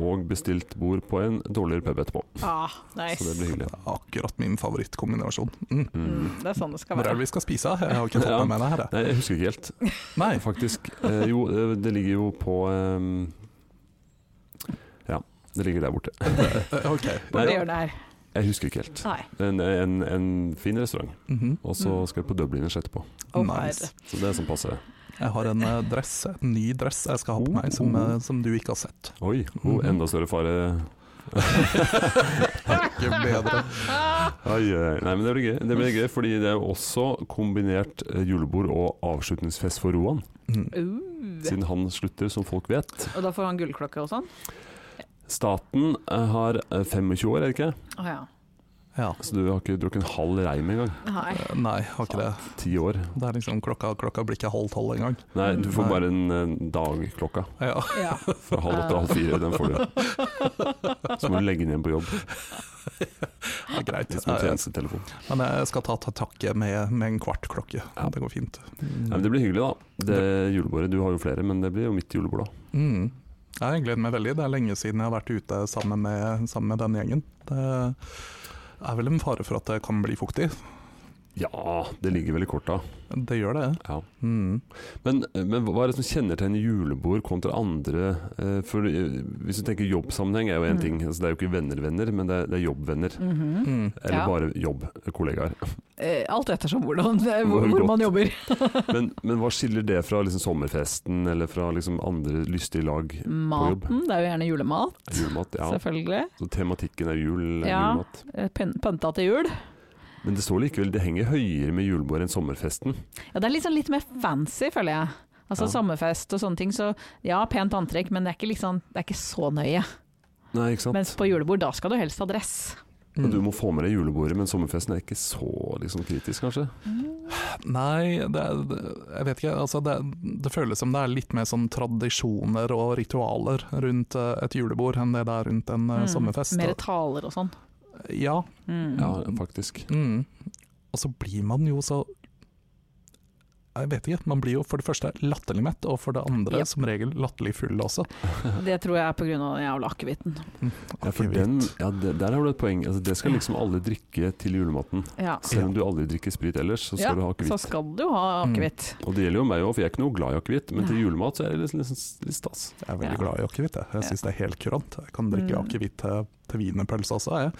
S1: og bestilt bord på en dårligere pub etterpå.
S2: Ah,
S1: Så det
S2: nice.
S1: blir hyggelig.
S3: Akkurat min favorittkombinasjon. Mm.
S1: Mm.
S2: Mm, det er sånn det skal
S3: Hvor er
S2: være.
S3: det vi skal spise? Jeg har ikke fått
S1: Ja.
S3: med meg det her. jeg.
S1: Nei, jeg husker ikke helt,
S3: Nei.
S1: faktisk. Eh, jo, eh, det ligger jo på eh, Ja, det ligger der borte.
S3: Eh, Ok.
S2: Hvor
S1: Nei,
S2: gjør det her?
S1: jeg husker ikke helt.
S2: Nei.
S1: En, en, en fin restaurant.
S3: Mhm.
S1: Og så skal vi på Dubliners etterpå.
S2: Å,
S3: Nice.
S2: herre.
S1: Så det er sånn passe.
S3: Jeg har en eh,
S1: Oh.
S3: dress, en ny dress jeg skal ha på meg, som, eh, som du ikke har sett.
S1: Oi, oh,
S3: Mhm.
S1: enda større fare
S3: Ikke bedre.
S1: Ai, ai, nei, men det blir gøy, det blir gøy fordi det er jo også kombinert eh, julebord og avslutningsfest for Roan.
S3: Mm.
S2: Uh.
S1: Siden han slutter, som folk vet.
S2: Og da får han gullklokke og sånn?
S1: Staten eh, har eh, 25 år, er det ikke?
S2: Å ja.
S3: Ja.
S1: Så du har ikke drukket en halv reim engang.
S2: Nei.
S3: Eh, Nei, har ikke det.
S1: Ti år.
S3: Det er liksom klokka, klokka blir ikke halv tolv engang.
S1: Nei, du får
S3: Nei.
S1: bare en eh, dagklokka
S3: Ja.
S2: Ja.
S1: fra halv åtte til halv fire. Den får du. Så må du legge den igjen på jobb.
S3: Ja, greit.
S1: Litt som en
S3: Nei,
S1: tjenestetelefon.
S3: Men jeg skal ta til takke med, med en kvart klokke.
S1: Ja.
S3: Det går fint. Mm.
S1: Nei, men det blir hyggelig, da. Det julebordet. Du har jo flere, men det blir jo mitt julebord, da.
S3: Mm. Jeg gleder meg veldig. Det er lenge siden jeg har vært ute sammen med, sammen med denne gjengen. Det er vel en fare for at det kan bli fuktig.
S1: Ja, det ligger vel i korta.
S3: Det gjør det.
S1: Ja.
S3: Mm.
S1: Men, men hva er det som kjennetegner julebord kontra andre eh, For eh, hvis du tenker jobbsammenheng, er jo én
S2: Mm.
S1: ting. Altså, det er jo ikke venner-venner, men det er, det er jobbvenner.
S2: Mhm.
S3: Mm.
S1: Eller
S2: Ja.
S1: bare jobbkollegaer.
S2: Eh, Alt ettersom hvordan, hvor,
S1: Godt.
S2: hvor man jobber.
S1: Men, men hva skiller det fra liksom, sommerfesten, eller fra liksom, andre lystige lag?
S2: Maten, det er jo gjerne julemat,
S1: Julemat, ja.
S2: selvfølgelig.
S1: Mm. Så tematikken er jul, eller
S2: Ja.
S1: julemat.
S2: Eh, pyn- Pynta til jul.
S1: Men det står likevel det henger høyere med julebord enn sommerfesten.
S2: Ja, det er liksom litt mer fancy, føler jeg. Altså
S1: Ja.
S2: sommerfest og sånne ting, så ja, pent antrekk, men det er ikke, liksom, det er ikke så nøye.
S1: Nei, ikke sant?
S2: Mens på julebord, da skal du helst ha dress.
S1: Og du
S3: Mm.
S1: må få med deg julebordet, men sommerfesten er ikke så liksom, kritisk, kanskje?
S2: Mm.
S3: Nei, det, er- det- jeg vet ikke. Altså det, det føles som det er litt mer sånn tradisjoner og ritualer rundt eh, et julebord enn det det er rundt en eh,
S2: Mm,
S3: sommerfest.
S2: Mer taler og sånn.
S3: Ja,
S2: Mm.
S1: Ja, faktisk.
S3: Mm. Og så blir man jo så Jeg vet ikke. Man blir jo for det første latterlig mett, og for det andre
S2: Yep.
S3: som regel latterlig full også.
S2: Det tror jeg er pga. den jævla akevitten.
S1: Ja, for
S3: Akevitt.
S1: den, ja, det, der har du et poeng. Altså, det skal liksom alle drikke til julematen.
S2: Ja.
S1: Selv om du aldri drikker sprit ellers, så skal
S2: Ja,
S1: du ha
S2: Så
S1: akevitt.
S2: skal du ha akevitt.
S1: Og det gjelder jo meg òg, for jeg er ikke noe glad i akevitt, men til julemat så er det liksom, liksom litt stas.
S3: Jeg er veldig
S2: Ja.
S3: glad i akevitt. jeg. Jeg syns det er helt kurant. Jeg kan drikke
S2: Mm.
S3: akevitt til, til wienerpølse også. Jeg.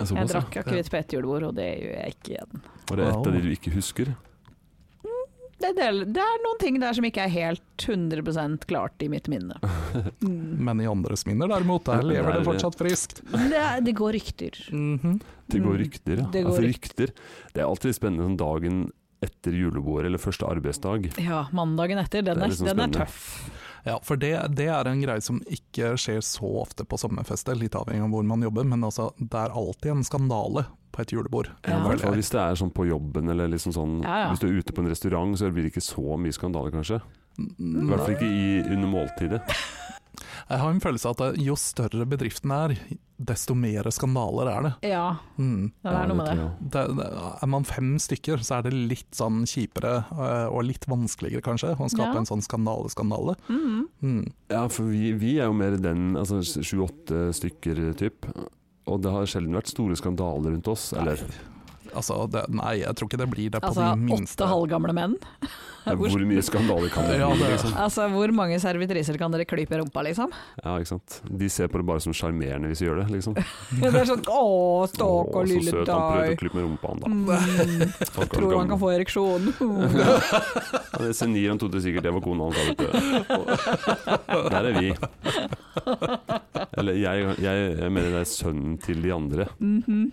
S2: Jeg
S1: Såpass, ja.
S2: drakk akevitt på ett julebord, og det gjør jeg ikke igjen.
S1: Var det et av de du ikke husker?
S2: Det er, del, det er noen ting der som ikke er helt 100 klart i mitt minne. Mm.
S3: Men i andres minner derimot, der
S1: Ja,
S3: lever
S1: der-
S3: det fortsatt friskt.
S2: Men Det, er- det går rykter.
S3: Mhm.
S1: Det går
S2: Mm.
S1: rykter, ja.
S2: Det går
S1: ja for rykter. Det er alltid spennende sånn dagen etter julebordet eller første arbeidsdag.
S2: Ja, mandagen etter. Den
S1: Det er
S2: er,
S1: liksom
S2: den er
S1: spennende.
S2: tøff.
S3: Ja, for det, det er en greie som ikke skjer så ofte på sommerfester, litt avhengig av hvor man jobber, men altså, det er alltid en skandale på et julebord.
S1: Ja, I
S2: Ja.
S1: hvert fall hvis det er sånn på jobben eller liksom sånn
S2: Ja, ja.
S1: Hvis du er ute på en restaurant, så blir det ikke så mye skandaler, kanskje. I hvert fall ikke i, under måltidet.
S3: Jeg har en følelse av at jo større bedriften er, desto mer skandaler er det.
S2: Ja,
S3: Mm.
S2: det er noe med
S1: tror jeg
S2: det.
S1: også.
S3: det, det er man fem stykker, så er det litt sånn kjipere eh, og litt vanskeligere kanskje å skape
S2: Ja.
S3: en sånn skandale-skandale.
S2: Mhm.
S3: Mm.
S1: Ja, for vi, vi er jo mer den altså sju-åtte stykker typ. Og det har sjelden vært store skandaler rundt oss. Eller
S3: Altså, det, nei, jeg tror ikke det blir det på
S2: Altså
S3: de minste.
S2: åtte halvgamle menn.
S1: hvor mye skandaler kan det
S3: Ja,
S1: bli?
S3: det-
S1: Liksom?
S2: Altså Hvor mange servitriser kan dere klype i rumpa, liksom?
S1: Ja, ikke sant? De ser på det bare som sjarmerende hvis de gjør det, liksom.
S2: Det er sånn Å,
S1: Å, så
S2: stakkar lille
S1: søt. Han prøvde å
S2: deg.
S1: klype med rumpa, han da.
S2: Mm,
S1: Stakkars
S2: tror han
S1: gamle.
S2: kan få ereksjon.
S1: Ja, det senir han trodde sikkert det var kona han kalte det. Der er vi. Eller jeg, jeg, jeg mener det er sønnen til de andre,
S2: Mhm,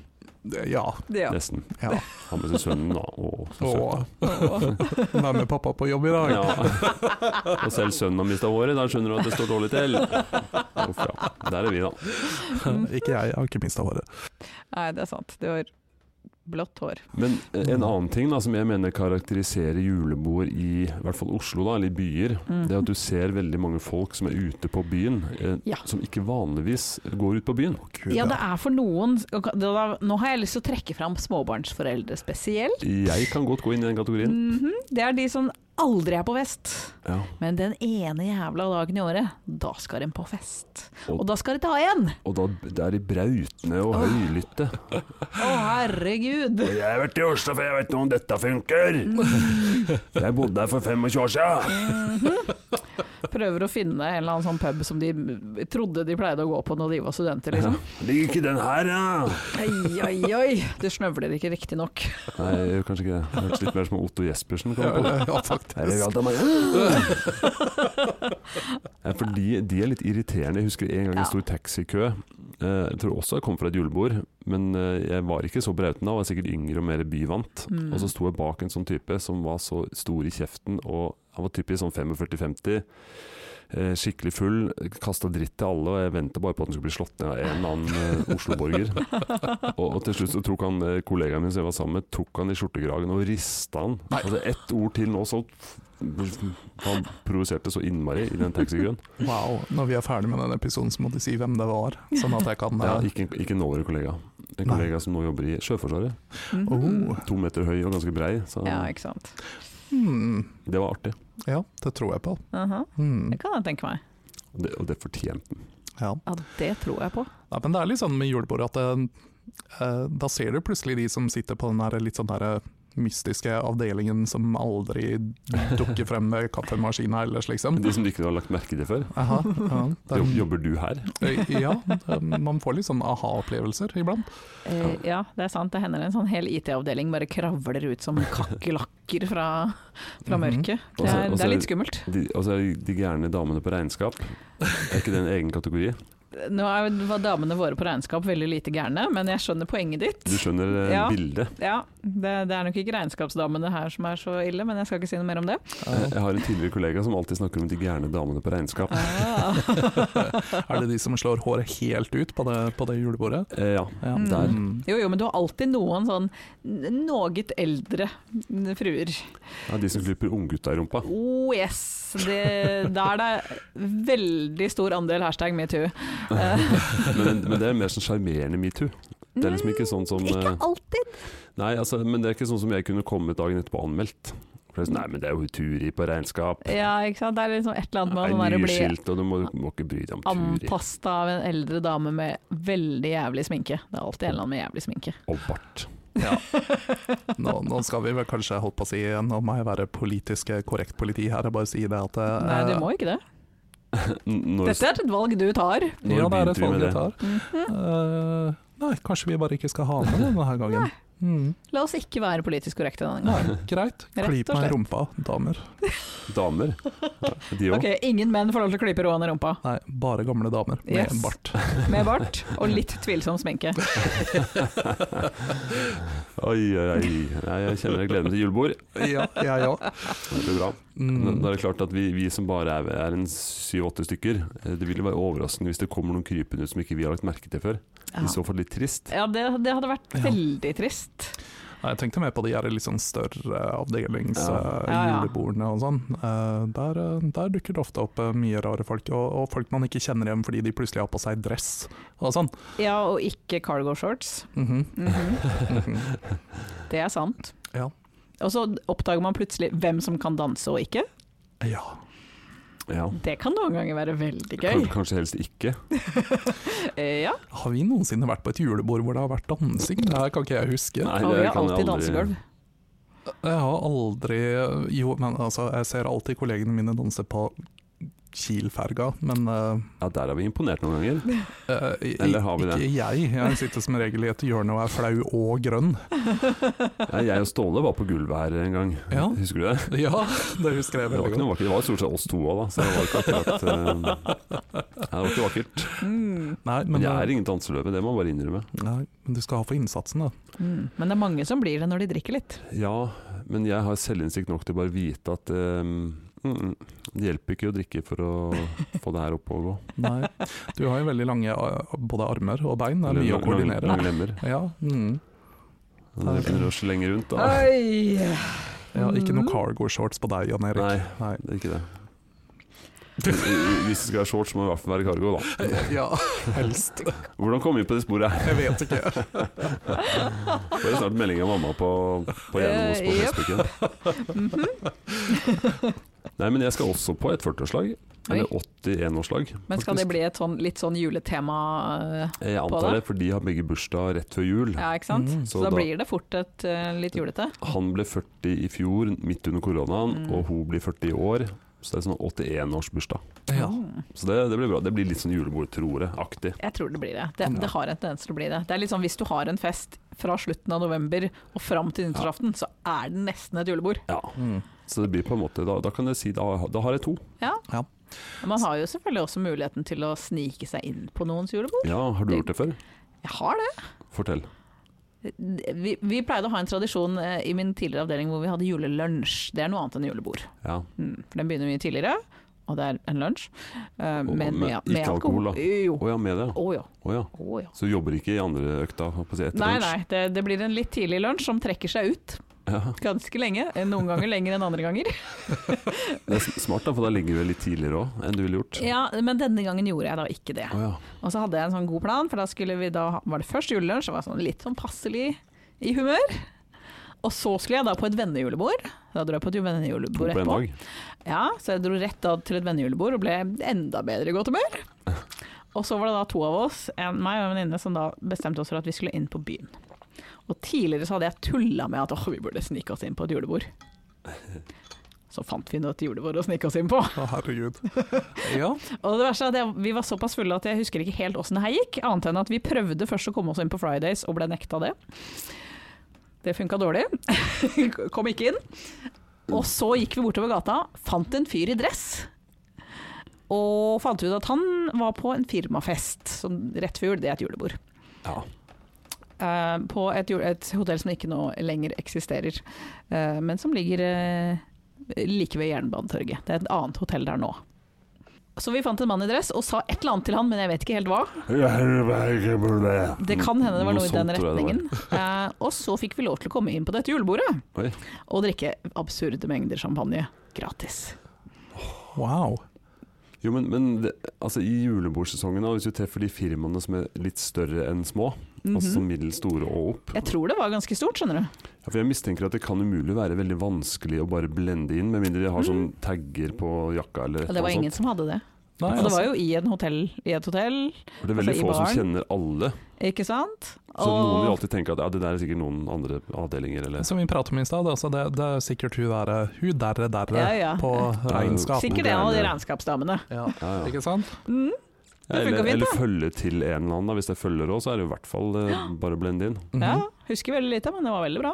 S3: Eh, Ja.
S2: Ja.
S1: nesten.
S3: ja.
S1: Han med seg sønnen, da. Å, så søt.
S3: Og
S2: Å.
S3: vær med pappa på jobb i dag.
S1: Ja. Og selv sønnen har mista håret, da skjønner du at det står dårlig til. Uff, ja. Der er vi, da.
S3: ikke jeg, jeg har ikke mista håret.
S2: Nei, det er sant. Du har blått hår.
S1: Men eh, en annen ting da, som jeg mener karakteriserer julebord i, i hvert fall Oslo, da, eller i byer,
S2: Mhm.
S1: det er at du ser veldig mange folk som er ute på byen, eh,
S2: Ja.
S1: som ikke vanligvis går ut på byen.
S3: Gud,
S2: Ja, det er for noen og da- da- Nå har jeg lyst til å trekke fram småbarnsforeldre spesielt.
S1: Jeg kan godt gå inn i den kategorien.
S2: Mhm, Det er de som aldri er på fest.
S1: Ja.
S2: Men den ene jævla dagen i året, da skal en på fest.
S1: Og-
S2: Og da skal de ta igjen!
S1: Og da det er de brautende og høylytte.
S2: Å, herregud!
S1: Jeg har vært i Oslo, for jeg vet nå om dette funker! Jeg bodde her for 25 år siden!
S2: Prøver å finne en eller annen sånn pub som de trodde de pleide å gå på når de var studenter, liksom.
S1: Ligger ikke den her, da?
S2: Oi, oi, oi! Du snøvler ikke riktig nok.
S1: Nei, jeg gjør kanskje ikke det. Det hørtes litt mer som Otto Jespersen. Kom jeg på.
S3: ja, faktisk.
S1: Her er vi alt av meg. Nei, for de, de er litt irriterende. Jeg husker en gang i en stor taxikø. Eh, Jeg tror også jeg kom fra et julebord, men eh, jeg var ikke så brautende. Jeg var sikkert yngre og mer byvant.
S2: Mm.
S1: Og så sto jeg bak en sånn type som var så stor i kjeften, og han var typisk sånn 45-50. eh, Skikkelig full, kasta dritt til alle, og jeg venta bare på at han skulle bli slått ned av en eller annen eh, Oslo-borger. Og, og til slutt så tok han eh, kollegaen min som jeg var sammen med, tok han i skjortekragen og rista han.
S3: Nei.
S1: Altså ett ord til nå, så Han provoserte så innmari i den taxikøen.
S3: Wow. Når vi er ferdig med den episoden, så må de si hvem det var, sånn at jeg kan
S1: Ja,
S3: eh,
S1: ikke, ikke en nåværende kollega. En
S3: Nei.
S1: kollega som nå jobber i Sjøforsvaret.
S2: Mhm.
S3: oh,
S1: To meter høy og ganske brei, så
S2: Ja, ikke sant.
S3: hmm.
S1: det var artig.
S3: Ja, det tror jeg på.
S2: Aha.
S3: Hmm.
S2: Det kan jeg tenke meg.
S1: Og det, og det fortjente den.
S3: Ja.
S2: Ja, det tror jeg på.
S3: Nei, men det er litt sånn med julebord at eh, eh, da ser du plutselig de som sitter på den her litt sånn der eh, mystiske avdelingen som aldri dukker frem med kaffemaskina ellers, liksom.
S1: De som ikke har lagt merke til før.
S3: Aha, ja, det er-
S1: Jobb, jobber du her?
S3: Eh, ja, det- man får litt sånn aha-opplevelser iblant.
S2: Eh, ja, det er sant. Det hender en sånn hel IT-avdeling bare kravler ut som kakerlakker fra, fra
S3: Mhm.
S2: mørket.
S1: Og
S2: Det
S1: så-
S2: er,
S1: og
S2: det
S1: så-
S2: er litt skummelt.
S1: De, og så er det de gærne damene på regnskap. Er ikke det en egen kategori?
S2: Nå er, jo- var damene våre på regnskap veldig lite gærne, men jeg skjønner poenget ditt.
S1: Du skjønner eh,
S2: Ja.
S1: bildet.
S2: Ja, det, det er nok ikke regnskapsdamene her som er så ille, men jeg skal ikke si noe mer om det.
S1: Eh, Jeg har en tidligere kollega som alltid snakker om de gærne damene på regnskap.
S2: Ah.
S3: Er det de som slår håret helt ut på det, på det julebordet?
S1: Eh, ja.
S3: Ja,
S2: Mm.
S1: Der.
S3: Mm.
S2: Jo, jo, men du har alltid noen sånn n- noget eldre fruer.
S1: ja, de som klipper unggutta i rumpa.
S2: Oh yes! Det, da er det veldig stor andel hashtag metoo.
S1: Men, men det er mer sånn sjarmerende metoo. Det er liksom ikke sånn som eh,
S2: Ikke alltid.
S1: Nei, altså, men det er ikke sånn som jeg kunne kommet dagen etterpå anmeldt. For det er sånn, nei, men det er jo Turi på regnskap.
S2: Ja, ikke sant. Det er liksom et eller annet med å
S1: Nei,
S2: sånn der å bli
S1: nyskilt, og du må, må ikke bry deg om Turi.
S2: Anpasta av en eldre dame med veldig jævlig sminke. Det er alltid en eller annen med jævlig sminke.
S1: Og bart.
S3: Ja. Nå, nå skal vi vel kanskje holdt på å si Nå må jeg være politisk korrekt politi her og bare si det at eh,
S2: Nei, du må ikke det.
S1: N- Når,
S2: Dette er et valg du tar. Mhm.
S1: når
S3: Ja, det er
S1: begynte
S3: et
S1: vi
S3: valg
S1: med
S3: jeg
S1: det?
S3: tar. Eh, nei, kanskje vi bare ikke skal ha med det denne gangen. Mm.
S2: La oss ikke være politisk korrekte denne gangen.
S3: Nei, greit.
S2: Rett og
S3: Klyp meg i
S2: slett.
S3: rumpa, damer.
S1: Damer. De òg.
S2: Ok, ingen menn får lov til å klype råen i rumpa.
S3: Nei, bare gamle damer med
S2: Yes.
S3: bart.
S2: Med bart og litt tvilsom sminke.
S1: Oi, oi, oi. Nei, jeg kjenner jeg gleder meg til julebord.
S3: Ja, jeg òg.
S1: Det blir bra. Men Da
S3: Mm.
S1: er det klart at vi, vi som bare er, er en syv-åtte stykker, eh, det vil jo være overraskende hvis det kommer noen krypende ut som ikke vi har lagt merke til før.
S2: Ja, Eh,
S1: I så fall litt trist.
S2: ja det, det hadde vært
S3: Ja.
S2: veldig trist.
S3: Nei, Jeg tenkte mer på de her litt sånn større avdelings
S1: Ja.
S3: eh,
S2: Ja, ja.
S3: julebordene og sånn. Eh, der, eh, der dukker det ofte opp eh, mye rare folk, og, og folk man ikke kjenner igjen fordi de plutselig har på seg dress og sånn.
S2: Ja, og ikke cargo shorts.
S3: Mhm,
S2: Mhm.
S3: mhm.
S2: Det er sant.
S3: Ja.
S2: Og så oppdager man plutselig hvem som kan danse og ikke.
S3: Ja.
S1: Ja.
S2: Det kan noen ganger være veldig gøy.
S1: Kan- Kanskje helst ikke.
S2: Eh, Ja,
S3: Har vi noensinne vært på et julebord hvor det har vært dansing? Det her kan ikke jeg huske.
S1: Nei,
S2: og vi har
S1: kan jeg
S2: alltid
S1: aldri-
S2: dansegulv.
S3: Jeg har aldri Jo, men altså, jeg ser alltid kollegene mine danse på Kiel-ferga, men eh,
S1: Ja, der har vi imponert noen ganger.
S3: eh, i-
S1: Eller har vi det?
S3: ikke jeg. Jeg sitter som regel i et hjørne og er flau og grønn.
S1: Nei, Jeg og Ståle var på gulvet her en gang.
S3: Ja.
S1: Husker du det?
S3: Ja, det husker
S1: Det
S3: jeg
S1: var,
S3: veldig
S1: ikke noe
S3: godt.
S1: vakkert. det var stort sett oss to òg, da. Så det var ikke akkurat eh, Nei, det var ikke vakkert.
S2: Mm.
S3: Nei, men, eh,
S1: Men jeg er ingen danseløve, det må jeg bare innrømme.
S3: nei, men du skal ha for innsatsen, da.
S2: Mm. Men det er mange som blir det når de drikker litt.
S1: Ja, men jeg har selvinnsikt nok til bare vite at eh, mm, mm, det hjelper ikke å drikke for å få det her opp og gå.
S3: Nei. Du har jo veldig lange eh, både armer og bein, det er mye
S1: Lang-
S3: å
S1: lang-
S3: koordinere.
S1: Lange lemmer.
S3: Ja, mm.
S1: Det begynner å slenge rundt, da.
S2: Oi!
S3: ja, ikke noe cargo shorts på deg, Jan Erik.
S1: Nei,
S3: Nei.
S1: det er ikke det. Hvis det skal være shorts, må det i hvert fall være cargo, da.
S3: Ja, helst.
S1: Hvordan kom vi på det sporet her?
S3: Jeg vet ikke.
S1: Får jeg snart melding av mamma på, på gjennom oss på
S2: Eh, jep.
S1: Facebooken.
S3: Mhm.
S1: Nei, men jeg skal også på et 40-årslag. Eller 81-årslag.
S2: Men skal det bli et sånn, litt sånn juletema? eh,
S1: Jeg
S2: på
S1: antar det, for de har begge bursdag rett før jul.
S2: Ja, ikke sant?
S3: Mm.
S2: Så,
S1: Så
S2: da,
S1: da-
S2: blir det fort et eh, litt julete.
S1: Han ble 40 i fjor, midt under koronaen,
S2: Mm.
S1: og hun blir 40 i år. Så det er sånn 81-årsbursdag.
S3: Ja.
S2: Mm.
S1: Så det, det blir bra. Det blir litt sånn julebordtroere-aktig.
S2: Jeg tror det blir det. Det,
S3: Ja.
S2: det har en tendens til å bli det. Det er litt sånn hvis du har en fest fra slutten av november og fram til nyttårsaften, så er det nesten et julebord.
S1: Ja.
S3: Mm.
S1: Så det blir på en måte Da, da kan jeg si da, da har jeg to.
S2: Ja.
S3: Ja.
S2: Man har jo selvfølgelig også muligheten til å snike seg inn på noens julebord.
S1: Ja, har du gjort det før?
S2: Jeg har det.
S1: Fortell.
S2: Vi, vi pleide å ha en tradisjon eh, i min tidligere avdeling hvor vi hadde julelunsj. Det er noe annet enn julebord.
S1: Ja.
S2: Mm, for den begynner mye tidligere, og det er en lunsj. eh,
S1: Og-
S2: men
S1: men
S2: med,
S1: ikke
S2: med
S1: alkohol, da?
S2: Jo.
S1: Å ja, med det.
S2: Å ja.
S1: Å ja.
S2: Å ja.
S1: Så du jobber ikke i andre økta? holdt på å si, etter
S2: Nei,
S1: lunsj?
S2: nei. Det, det blir en litt tidlig lunsj som trekker seg ut
S1: Ja.
S2: ganske lenge. eh, Noen ganger lenger enn andre ganger.
S1: Det er s- smart, da, for da ligger du vel litt tidligere òg enn du ville gjort.
S2: Ja, Men denne gangen gjorde jeg da ikke det.
S1: Å ja.
S2: Og så hadde jeg en sånn god plan, for da, skulle vi da ha- var det først julelunsj, som var sånn litt sånn passelig i humør. Og så skulle jeg da på et vennejulebord. Da dro jeg på et
S1: To
S2: vennejulebord
S1: på en
S2: etterpå.
S1: dag.
S2: Ja, så jeg dro rett da til et vennejulebord og ble enda bedre i godt humør. Og så var det da to av oss, en, meg og en venninne, som da bestemte oss for at vi skulle inn på byen. Og tidligere så hadde jeg tulla med at åh, vi burde snike oss inn på et julebord. Så fant vi nå et julebord å snike oss inn på.
S3: Å, herregud. Ja.
S2: Og det verste er at jeg, Vi var såpass fulle at jeg husker ikke helt åssen det her gikk, annet enn at vi prøvde først å komme oss inn på Fridays og ble nekta det. Det funka dårlig. Kom ikke inn. Og så gikk vi bortover gata, fant en fyr i dress. Og fant ut at han var på en firmafest som rett før jul, det er et julebord.
S1: Ja.
S2: Eh, på et, jul- et hotell som ikke nå lenger eksisterer, eh, men som ligger eh, like ved Jernbanetorget. Det er et annet hotell der nå. Så vi fant en mann i dress og sa et eller annet til han, men jeg vet ikke helt hva. Det kan hende det var noe i
S1: sånt tror
S2: den
S1: jeg det var.
S2: retningen. Eh, og så fikk vi lov til å komme inn på dette julebordet
S1: Oi.
S2: og drikke absurde mengder champagne gratis.
S3: Wow.
S1: Jo, men, men det, altså, i julebordsesongen, da, hvis du treffer de firmaene som er litt større enn små, altså
S2: Mhm.
S1: som middels store og opp
S2: Jeg tror det var ganske stort, skjønner du.
S1: ja, For jeg mistenker at det kan umulig være veldig vanskelig å bare blende inn, med mindre de har sånn tagger på jakka eller et
S2: Og Mhm. det
S1: eller
S2: var
S1: annet
S2: ingen
S1: sånt.
S2: som hadde det.
S3: Nei,
S2: Og Altså, det
S1: altså.
S2: var jo i, en hotell, i et hotell,
S1: For det er veldig
S2: altså, i
S1: få som
S2: baren.
S1: kjenner alle,
S2: ikke sant?
S1: så noen vil alltid tenke at ja, det der er sikkert noen andre avdelinger eller
S3: altså, Som vi pratet om i stad, altså det, det er sikkert hun derre hun derre derre
S2: Ja, ja.
S3: på regnskap.
S2: Sikkert en av de regnskapsdamene.
S3: Ja,
S1: ja, ja.
S3: ikke sant?
S2: Mm. Det funker
S1: eller,
S2: fint,
S1: eller
S2: da.
S1: følge til en eller annen. Da. Hvis det er følger òg, så er det jo i hvert fall eh, bare å blende inn.
S3: Mhm.
S2: Ja, husker veldig lite, men det var veldig bra.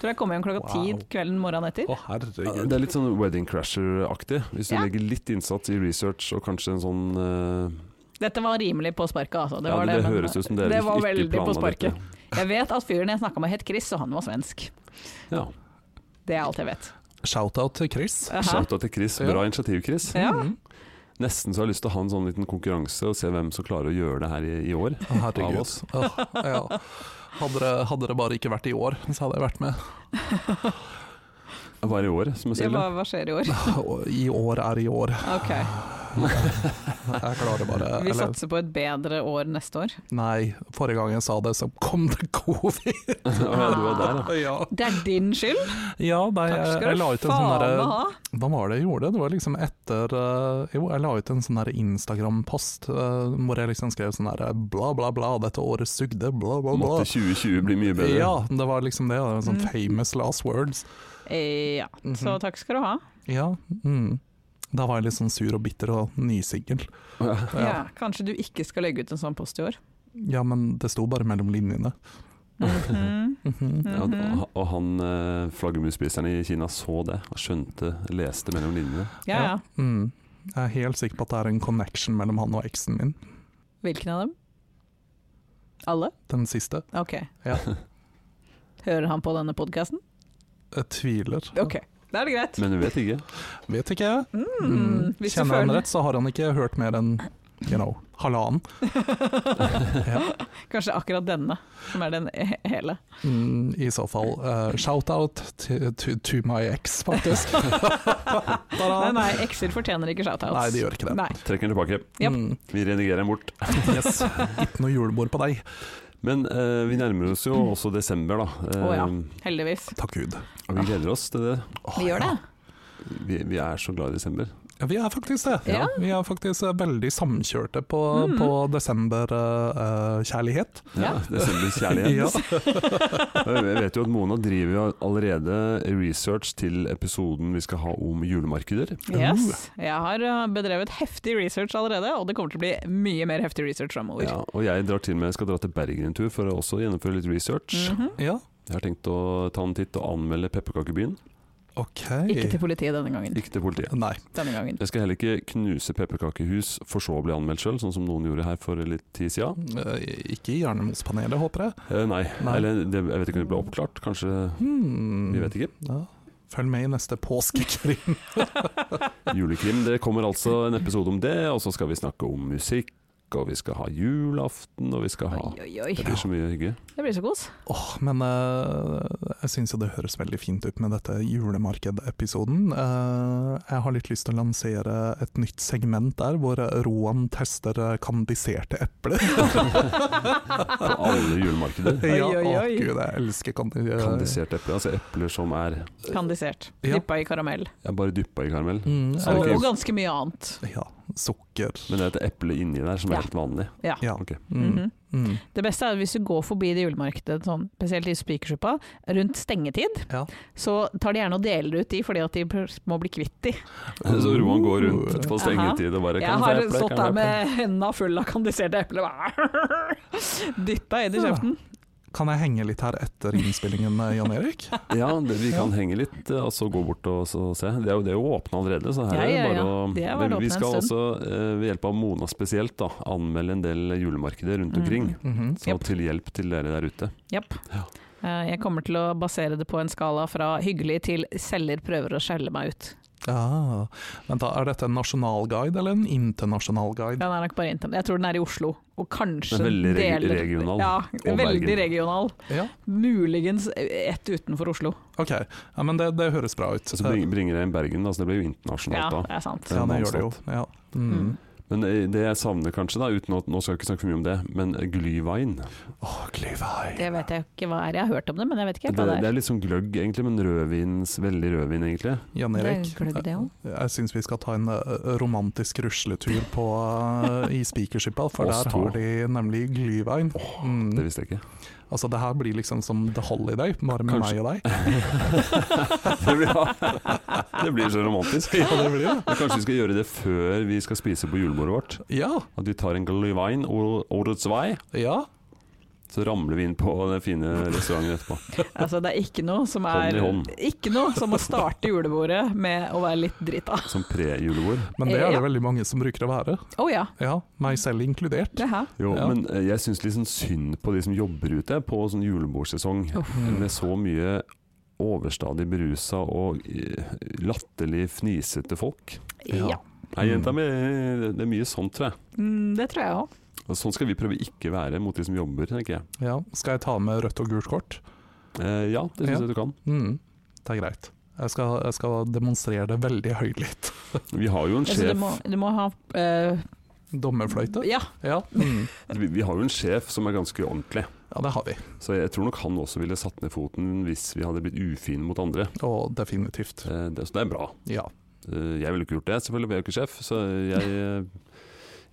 S2: Tror jeg kom hjem klokka ti
S3: Wow.
S2: kvelden morgenen etter.
S3: Å,
S1: Ja,
S3: herregud.
S1: Det er litt sånn Wedding Crasher-aktig. Hvis du
S2: Ja.
S1: legger litt innsats i research og kanskje en sånn eh,
S2: Dette var rimelig på sparket, altså. Det,
S1: ja,
S2: var
S1: det,
S2: det, men
S1: høres ut som dere
S2: det var
S1: ikke
S2: veldig på
S1: planla dette.
S2: sparket. Jeg vet at fyren jeg snakka med het Chris, og han var svensk.
S1: Ja.
S2: Det er alt jeg vet.
S3: Shout-out til Chris.
S2: Aha.
S1: Shout-out til Chris.
S3: Ja.
S1: Bra initiativ, Chris.
S2: Ja.
S3: Mhm.
S1: Nesten så har jeg lyst til å ha en sånn liten konkurranse og se hvem som klarer å gjøre det her i, i år.
S3: Å,
S1: Av
S3: Herregud.
S1: oss.
S3: Åh, ja. Hadde det, hadde det bare ikke vært i år, så hadde jeg vært med.
S1: Bare i år, som jeg
S2: Det
S1: sier.
S2: var, hva skjer i år?
S3: Og I år er i år.
S2: Ok,
S3: Jeg klarer bare
S2: Vi
S3: eller,
S2: satser på et bedre år neste år.
S3: Nei, forrige gang jeg sa det, så kom det covid.
S1: ja, du var der, ja.
S3: ja.
S2: Det er din skyld!
S3: Ja, nei,
S2: Takk
S3: jeg, jeg
S2: skal
S3: la
S2: du
S3: ut en sånn
S2: faen meg
S3: derre
S2: ha!
S3: Hva var det jeg gjorde? Det var liksom etter eh, Jo, jeg la ut en sånn der Instagram-post eh, hvor jeg liksom skrev sånn der bla, bla, bla, dette året sugde, bla, bla, bla.
S1: Måtte 2020 bli mye bedre.
S3: Ja, det var liksom det. det var sånn
S2: Mm.
S3: famous last words.
S2: Eh, Ja,
S3: Mhm.
S2: så takk skal du ha.
S3: Ja. Mm. Da var jeg litt sånn sur og bitter og nysingel.
S2: Ja. kanskje du ikke skal legge ut en sånn post i år.
S3: Ja, men det sto bare mellom linjene.
S2: Mhm.
S3: Mhm.
S1: Ja,
S2: Mhm.
S1: og- og han eh, flaggermusspiseren i Kina så det, og skjønte, leste mellom linjene.
S2: Ja ja.
S3: Mm. Jeg er helt sikker på at det er en connection mellom han og eksen min.
S2: Hvilken av dem? Alle?
S3: Den siste.
S2: Ok.
S3: Ja.
S2: Hører han på denne podkasten?
S3: Jeg tviler.
S2: Ok, da er det greit.
S1: Men du vet ikke.
S3: Vet ikke.
S2: Mm,
S3: Mm.
S2: hvis du
S3: Kjenner han
S2: føler-
S3: rett, så har han ikke hørt mer enn you know, halvannen. Ja.
S2: Kanskje akkurat denne, som er den he- hele.
S3: Mm, I så fall eh, shout-out to, to, to my ex, faktisk.
S2: Nei,
S3: Ta-da.
S2: nei, ekser fortjener ikke shoutouts.
S3: Nei, de gjør ikke det.
S2: Nei.
S1: Trekker den tilbake.
S2: Japp.
S3: Mm,
S1: Vi redigerer den bort.
S3: yes. Ikke noe julebord på deg.
S1: Men eh, vi nærmer oss jo også desember, da. Eh,
S2: Å ja. Heldigvis.
S3: Takk Gud.
S1: Og vi gleder oss til det.
S3: Åh,
S2: Vi gjør det.
S1: Vi, vi er så glad i desember.
S3: Ja, vi er faktisk det.
S2: Ja.
S3: Vi er faktisk eh, veldig samkjørte på,
S2: Mm.
S3: på eh, desemberkjærlighet.
S2: Ja.
S1: Desembers kjærlighet. Og Jeg vet jo at Mona driver jo allerede research til episoden vi skal ha om julemarkeder.
S2: Yes. Jeg har uh, bedrevet heftig research allerede, og det kommer til å bli mye mer heftig research framover.
S1: Ja, og jeg drar til med, skal dra til Bergen en tur for å også gjennomføre litt research.
S2: Mhm.
S3: Ja.
S1: Jeg har tenkt å ta en titt og anmelde Pepperkakebyen.
S3: OK.
S2: Ikke til politiet denne gangen.
S1: Ikke til politiet.
S3: Nei.
S2: Denne gangen.
S1: Jeg skal heller ikke knuse pepperkakehus for så å bli anmeldt sjøl, sånn som noen gjorde her for litt tid sida.
S3: Eh, Ikke i Hjernemospanelet, håper jeg.
S1: Eh, nei.
S3: Nei.
S1: Eller det, jeg vet ikke om det ble oppklart, kanskje.
S3: Hmm.
S1: Vi vet ikke.
S3: Ja. Følg med i neste påskekrim.
S1: Julekrim, det kommer altså en episode om det, og så skal vi snakke om musikk, og vi skal ha julaften, og vi skal ha
S2: Oi, oi, oi.
S1: Det blir så mye hygge.
S2: Det blir så kos.
S3: Åh, men eh, jeg syns jo det høres veldig fint ut med dette julemarkedepisoden. Eh, jeg har litt lyst til å lansere et nytt segment der, hvor Roan tester eh, kandiserte epler.
S1: På alle julemarkeder.
S2: Oi,
S3: Ja,
S2: oi,
S3: åh,
S2: oi.
S3: Gud, jeg elsker kandi... eh,
S1: Kandiserte epler, altså epler som er
S2: Kandisert.
S3: Ja.
S2: Dyppa i karamell.
S1: jeg bare dyppa i karamell.
S3: Mm,
S1: Så det
S2: Og, og
S3: og,
S1: ikke-
S2: ganske mye annet.
S3: ja, sukker.
S1: Men det er et eple inni der som er
S2: Ja.
S1: helt vanlig.
S2: Ja.
S3: Ja.
S1: Ok.
S3: Mm,
S2: Mhm.
S3: mm.
S2: Det beste er hvis du går forbi det julemarkedet, sånn, spesielt i Spikersuppa, rundt stengetid,
S3: Ja.
S2: så tar de gjerne og deler ut de fordi at de pr- må bli kvitt de.
S1: Så Roan går rundt på stengetid og bare
S2: Jeg
S1: kan
S2: har
S1: jeg få eple,
S2: stått
S1: kan
S2: der
S1: jeg få eple?
S2: med henda full av kandiserte epler. bare Dytta inn i
S3: Ja.
S2: kjeften.
S3: Kan jeg henge litt her etter innspillingen, eh, Jan Erik?
S1: Ja, det, vi kan henge litt eh, og så gå bort og så se. Det er jo, det er jo åpne allerede, så her
S2: Ja, ja,
S1: er det
S2: ja.
S1: bare å
S2: Det har
S1: Men
S2: vært
S1: Vi
S2: åpne en
S1: skal
S2: stund.
S1: også, eh, ved hjelp av Mona spesielt, da, anmelde en del julemarkeder rundt
S2: Mm.
S1: omkring.
S3: Mhm.
S1: Så
S2: Japp.
S1: til hjelp til dere der ute.
S2: Eh, Jeg kommer til å basere det på en skala fra hyggelig til selger prøver å skjelle meg ut.
S3: Ah, vent da, Er dette en nasjonal guide eller en internasjonal guide?
S2: Den er nok bare intern. Jeg tror den er i Oslo, og kanskje
S1: Den er veldig reg-
S2: deler-
S1: regional,
S2: Ja,
S1: og
S2: veldig
S1: Bergen.
S2: regional.
S3: Ja,
S2: Muligens ett utenfor Oslo.
S3: ok. Ja, men det, det høres bra ut.
S1: Så bring, bringer jeg inn Bergen, da, så det blir jo internasjonalt
S2: Ja,
S1: da.
S2: det er sant.
S3: ja, det gjør det jo. Ja. Mm.
S2: Mm.
S1: Men eh, det jeg savner kanskje, da, uten å, nå skal jeg ikke snakke for mye om det, men eh, Glyvein.
S3: Åh, Glyvheim.
S2: Det vet jeg ikke hva er. Jeg har hørt om det, men jeg vet ikke
S1: Det,
S2: helt hva det
S1: det
S2: er.
S1: er litt sånn gløgg, egentlig, men rødvins, veldig rødvin, egentlig.
S3: Jan Erik,
S2: Det er gløgg, det
S3: jeg,
S2: også.
S3: eh, jeg syns vi skal ta en eh, romantisk rusletur på, eh, i Spikerskippa, for
S1: Oss
S3: der
S1: to.
S3: har de nemlig Glyvein. Mm.
S1: Det visste jeg ikke.
S3: Altså, det her blir liksom som The Holiday, bare med
S1: Kanskje-
S3: meg og deg.
S1: Det blir, det blir så romantisk.
S3: Ja, det blir det.
S1: Men kanskje vi skal gjøre det før vi skal spise på julebordet vårt?
S3: Ja,
S1: At vi tar en Glyvein og årets vei,
S3: ja.
S1: så ramler vi inn på den fine restauranten etterpå.
S2: Altså, det er ikke noe som
S1: Hånd
S2: er
S1: i hånd.
S2: Ikke noe som å starte julebordet med å være litt drita.
S1: Som pre-julebord.
S3: Men det er
S2: Ja.
S3: det veldig mange som bruker å være.
S2: Å ja,
S3: Ja, meg selv inkludert.
S2: det her.
S1: Jo,
S3: Ja.
S1: men eh, jeg syns litt sånn synd på de som jobber ute på sånn julebordsesong. Med så mye overstadig berusa og eh, latterlig fnisete folk.
S2: Ja.
S3: Ja.
S1: Nei,
S3: Mm.
S1: jenta mi, det- det er mye sånt, tror jeg.
S2: Mm, det tror jeg òg.
S1: Og sånn skal vi prøve ikke være mot de som jobber, tenker jeg.
S3: Mm. Ja, skal jeg ta med rødt og gult kort?
S1: Eh, ja, det syns
S3: Ja.
S1: jeg du kan.
S3: Mm, det er greit. Jeg skal, jeg skal demonstrere det veldig høylytt.
S1: Vi har jo en
S2: Altså,
S1: sjef,
S2: du, må, du må ha eh,
S3: Dommerfløyte?
S2: Ja,
S3: Ja. Mm.
S1: vi, vi har jo en sjef som er ganske ordentlig.
S3: ja, det har vi.
S1: Så jeg tror nok han også ville satt ned foten hvis vi hadde blitt ufine mot andre.
S3: Og definitivt.
S1: Eh, det, så det er bra.
S3: Ja.
S1: Eh, jeg ville ikke gjort det, selvfølgelig, for jeg er jo ikke sjef. Så jeg, eh,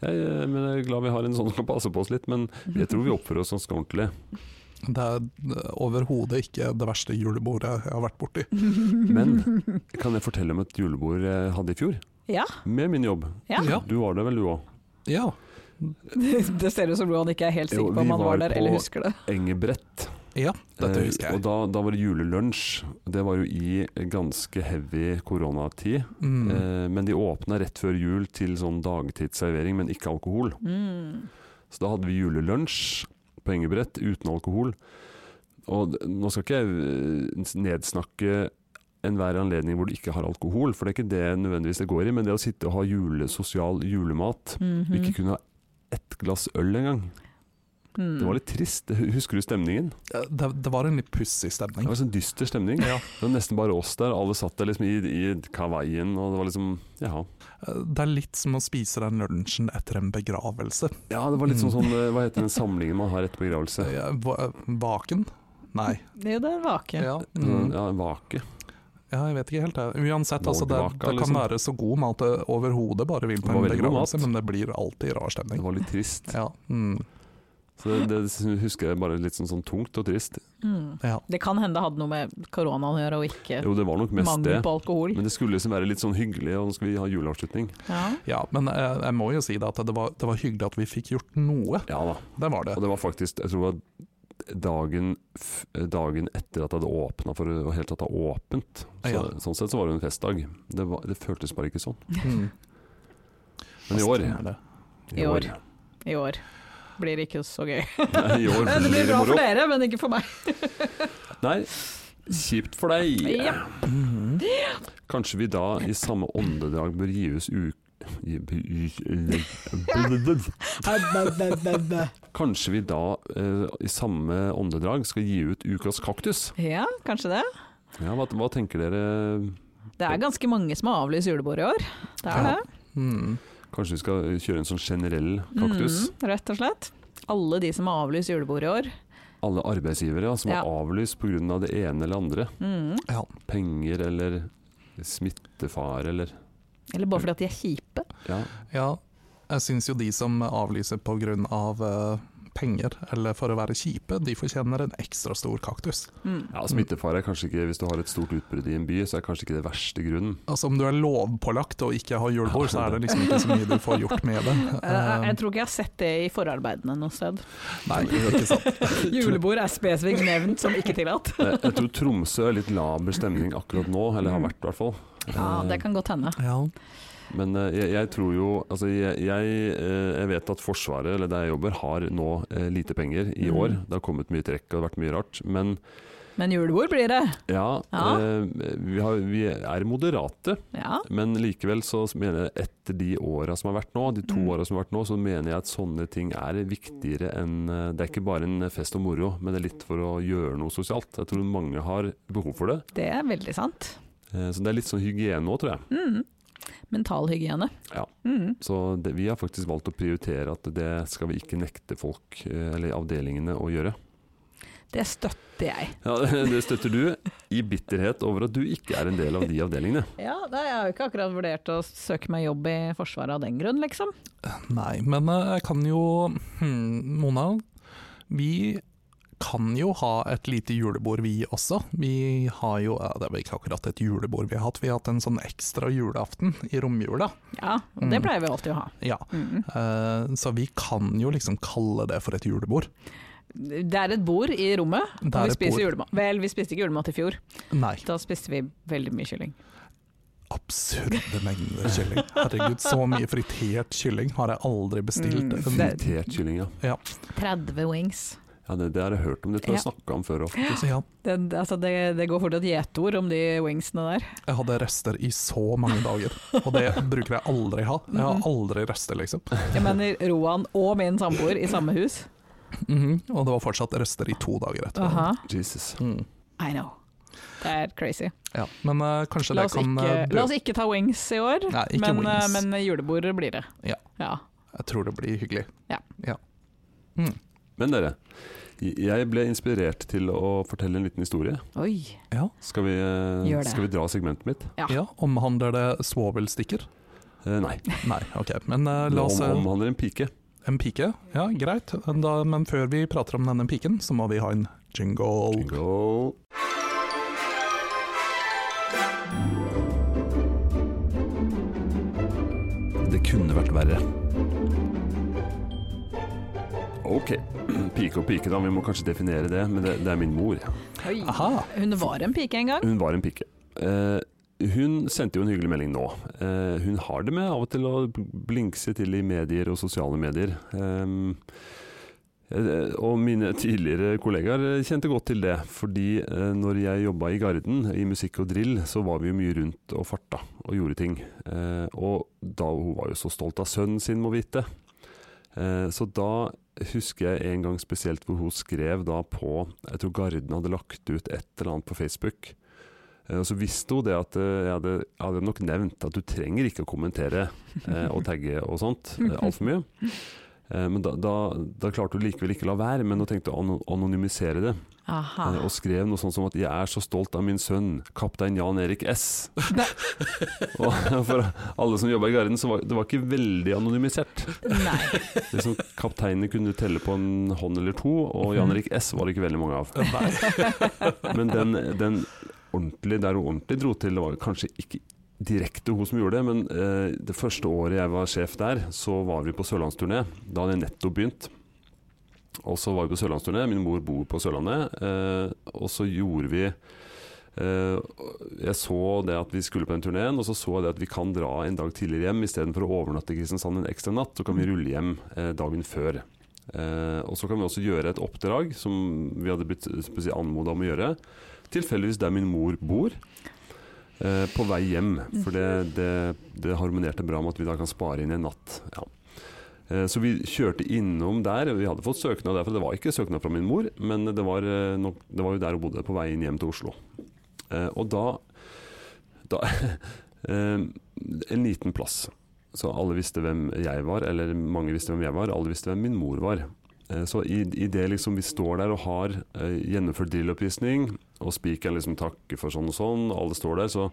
S1: jeg, eh, men jeg er glad vi har en sånn som kan passe på oss litt. Men jeg tror vi oppfører oss ganske ordentlig.
S3: Det er eh, overhodet ikke det verste julebordet jeg har vært borti.
S1: Men kan jeg fortelle om et julebord jeg hadde i fjor?
S2: Ja.
S1: Med min jobb.
S2: Ja.
S3: Ja.
S1: Du var der vel, du òg?
S3: Ja.
S2: det ser ut som Roan ikke er helt
S1: Jo,
S2: sikker på om
S1: vi
S2: han var
S1: var
S2: der
S1: på-
S2: eller husker det.
S1: Engebrett.
S3: ja, dette
S1: Eh,
S3: husker
S1: Og
S3: jeg.
S1: da, da var det julelunsj. Det var jo i ganske heavy koronatid.
S3: Mm.
S1: Eh, men de åpna rett før jul til sånn dagtidsservering, men ikke alkohol.
S2: Mm.
S1: Så da hadde vi julelunsj på Engebrett uten alkohol. Og d- nå skal ikke jeg eh, nedsnakke enhver anledning hvor du ikke har alkohol, for det er ikke det nødvendigvis det går i, men det å sitte og ha julesosial julemat
S2: Mm.
S1: Vi ikke kunne ha ett glass øl engang.
S2: Mhm.
S1: Det var litt trist. Husker du stemningen?
S3: Det, det var en litt pussig
S1: Det
S3: stemning.
S1: var sånn dyster stemning.
S3: Ja.
S1: Det var nesten bare oss der. Alle satt der liksom i, i kavaien, og det var liksom Jaha.
S3: Eh, Det er litt som å spise den lunsjen etter en begravelse.
S1: Ja, det var litt sånn,
S3: Mm.
S1: sånn eh, Hva heter den samlingen man har etter begravelse?
S3: Eh, va- Vaken? Nei.
S2: Jo, det er vake.
S3: Ja.
S1: Sånn,
S3: Mm.
S1: Ja, en vake.
S3: ja, jeg vet ikke helt. jeg. Uansett, altså, det,
S1: Vågvaka,
S3: det kan
S1: liksom.
S3: være så god mat det overhodet bare vil
S1: Det
S3: på en
S1: var veldig god
S3: begravelse,
S1: mat.
S3: men det blir alltid rar
S1: Det
S3: stemning.
S1: var litt trist.
S3: Ja. Mm.
S1: Så det, det sy- husker jeg bare litt sånn, sånn tungt og trist.
S2: Mm.
S3: Ja.
S2: Det kan hende det hadde noe med koronaen å gjøre, og ikke
S1: Jo, det var nok mest det.
S2: mangel på alkohol.
S1: Men det skulle liksom være litt sånn hyggelig, og nå skal vi ha juleavslutning.
S2: Ja.
S3: Ja, men jeg, jeg må jo si det at det var, det var hyggelig at vi fikk gjort noe.
S1: Ja da.
S3: Det var det.
S1: Og det var faktisk Jeg tror det var dagen, f dagen etter at det hadde åpna, for å helt tatt ha åpent. Så,
S3: Ja.
S1: Sånn sett så var det en festdag. Det, var, det føltes bare ikke sånn.
S3: Mm.
S1: Men i år,
S3: Stemmer det.
S2: I år. I år blir det ikke så gøy.
S1: Nei, I år
S2: Det blir
S1: blir det
S2: bra for
S1: moro.
S2: dere, men ikke for meg.
S1: Nei, kjipt for deg.
S2: Ja.
S3: Mhm.
S1: Kanskje vi da i samme åndedrag bør gi oss u... gi- gi- Kanskje vi da eh, i samme åndedrag skal gi ut ukas kaktus?
S2: Ja, kanskje det.
S1: Ja, hva, hva tenker dere?
S2: Det er ganske mange som har avlyst julebord i år. Det er
S3: Ja,
S2: det.
S3: Mhm.
S1: Kanskje vi skal kjøre en sånn generell kaktus?
S2: Mm, rett og slett. Alle de som har avlyst julebord i år.
S1: Alle arbeidsgivere ja, som
S2: Ja.
S1: har avlyst pga. Av det ene eller andre.
S2: Mm.
S3: Ja.
S1: Penger eller smittefare eller
S2: Eller bare fordi at de er kjipe.
S1: Ja,
S3: ja. Jeg syns jo de som avlyser pga. Av, eh, penger, eller for å være kjipe, de fortjener en ekstra stor kaktus.
S2: Mm.
S1: ja smittefare er kanskje ikke Hvis du har et stort utbrudd i en by, så er kanskje ikke det verste grunnen.
S3: Altså Om du er lovpålagt og ikke har julebord, så er det liksom ikke så mye du får gjort med det.
S2: Eh, Jeg, jeg tror ikke jeg har sett det i forarbeidene noe sted.
S3: Eh, Nei, ikke sant.
S2: Julebord er spesifikt nevnt som ikke tillatt.
S1: Jeg, jeg tror Tromsø er litt laber stemning akkurat nå, eller har vært i hvert fall.
S2: Ja,
S1: Eh,
S2: det kan godt hende.
S3: Ja.
S1: Men eh, jeg, jeg tror jo Altså, jeg, jeg, eh, jeg vet at Forsvaret, eller der jeg jobber, har nå eh, lite penger i
S2: Mm.
S1: år. Det har kommet mye trekk og det har vært mye rart. Men
S2: Men julebord blir det.
S1: ja,
S2: Ja.
S1: eh, vi, har, vi er moderate.
S2: Ja.
S1: Men likevel så mener jeg etter de åra som har vært nå, de to
S2: Mm.
S1: årene åra som har vært nå, så mener jeg at sånne ting er viktigere enn eh, Det er ikke bare en fest og moro, men det er litt for å gjøre noe sosialt. Jeg tror mange har behov for det.
S2: Det er veldig sant.
S1: Eh, Så det er litt sånn hygiene òg, tror jeg.
S2: Mm. Mentalhygiene.
S1: Ja.
S2: Mm.
S1: Så det, vi har faktisk valgt å prioritere at det skal vi ikke nekte folk, eh, eller avdelingene, å gjøre.
S2: Det støtter jeg.
S1: Ja, Det støtter du, i bitterhet over at du ikke er en del av de avdelingene.
S2: Ja, nei, Jeg har jo ikke akkurat vurdert å søke meg jobb i Forsvaret av den grunn, liksom.
S3: Nei, men eh, jeg kan jo hmm, Mona, vi kan jo ha et lite julebord vi også. Vi har jo eh, Det er vel ikke akkurat et julebord vi har hatt, vi har hatt en sånn ekstra julaften i romjula.
S2: Ja, og det
S3: Mm.
S2: pleier vi alltid å ha.
S3: Ja.
S2: Mm.
S3: eh, Så vi kan jo liksom kalle det for et julebord.
S2: Det er et bord i rommet, og
S3: Det
S2: vi
S3: er et bord.
S2: spiser julemat. Vel, vi spiste ikke julemat i fjor.
S3: Nei,
S2: Da spiste vi veldig mye kylling.
S3: absurde mengder kylling. Herregud, så mye fritert kylling har jeg aldri bestilt.
S2: Mm, det-
S1: Irritert kylling, ja.
S2: 30 wings.
S1: ja det, det har jeg hørt om, det tror jeg jeg
S2: Ja.
S1: snakka om før òg.
S3: Så ja,
S2: Det, altså det, det går fort et gjetord om de wingsene der.
S3: Jeg hadde rester i så mange dager, og det bruker jeg aldri ha. Jeg har aldri rester, liksom.
S2: Jeg mener Roan og min samboer i samme hus.
S3: Mhm, Og det var fortsatt rester i to dager etterpå.
S2: Aha,
S1: Jesus.
S3: Mm.
S2: I know. Det er crazy.
S3: Ja. Men eh, kanskje
S2: La
S3: det
S2: oss,
S3: kan
S2: ikke,
S3: eh, bø-
S2: la oss ikke ta wings i år,
S3: Nei, ikke
S2: men, eh,
S3: wings.
S2: men julebord blir det.
S3: Ja. Jeg tror det blir hyggelig.
S2: Ja.
S3: Mm.
S1: Men dere, jeg ble inspirert til å fortelle en liten historie.
S2: Oi.
S1: Skal vi, eh,
S2: Gjør det.
S1: skal vi dra segmentet mitt?
S2: Ja.
S3: Ja, Omhandler det svovelstikker?
S1: Eh, nei,
S3: Nei, ok. Men eh,
S1: det
S3: la oss
S1: om,
S3: eh,
S1: omhandler en pike.
S3: En pike? Ja, greit. Da, men før vi prater om denne piken, så må vi ha en jingle.
S1: Go. Det kunne vært verre. Ok, pike og pike da, vi må kanskje definere det, men det, det er min mor.
S2: Oi.
S3: Aha.
S2: Hun var en pike en gang.
S1: Hun var en pike. Eh, hun sendte jo en hyggelig melding nå. Eh, hun har det med av og til å blinkse til i medier og sosiale medier. Ehm, eh, og mine tidligere kollegaer kjente godt til det, fordi eh, når jeg jobba i Garden, i musikk og drill, så var vi jo mye rundt og farta og gjorde ting. Eh, og da hun var jo så stolt av sønnen sin, må vite. Eh, så da husker jeg en gang spesielt hvor hun skrev da på Jeg tror Garden hadde lagt ut et eller annet på Facebook. Eh, Og så visste hun det at eh, jeg hadde, jeg hadde nok nevnt at du trenger ikke å kommentere eh, og tagge og sånt eh, altfor mye. Eh, men da, da, da klarte hun likevel ikke la være, men hun tenkte å ano- anonymisere det.
S2: Aha.
S1: eh, og skrev noe sånt som at 'jeg er så stolt av min sønn, kaptein Jan Erik S'. og for alle som jobba i Garden, så var det var ikke veldig anonymisert.
S2: Nei.
S1: Liksom, kapteinene kunne du telle på en hånd eller to, og Jan Erik S var det ikke veldig mange av. Men den, den ordentlig, der hun ordentlig dro til, det var kanskje ikke direkte hun som gjorde det, men eh, det første året jeg var sjef der, så var vi på sørlandsturné. Da hadde jeg nettopp begynt. Og så var vi på sørlandsturné. Min mor bor på Sørlandet. Eh, og så gjorde vi eh, Jeg så det at vi skulle på den turneen, og så så jeg det at vi kan dra en dag tidligere hjem istedenfor å overnatte i Kristiansand en ekstra natt. Så kan vi rulle hjem eh, dagen før. Eh, og så kan vi også gjøre et oppdrag som vi hadde blitt eh, spesielt anmoda om å gjøre. Tilfeldigvis der min mor bor. Eh, på vei hjem, for det, det, det harmonerte bra med at vi da kan spare inn en natt. Ja. Eh, Så vi kjørte innom der. Vi hadde fått søknad der, for det var ikke søknad fra min mor, men det var, eh, nok, det var jo der hun bodde, på veien hjem til Oslo. Eh, Og da, da eh, En liten plass. Så alle visste hvem jeg var, eller mange visste hvem jeg var. Alle visste hvem min mor var. Eh, Så i, i det liksom vi står der og har eh, gjennomført drilloppvisning, og spikeren liksom takker for sånn og sånn, og alle står der, så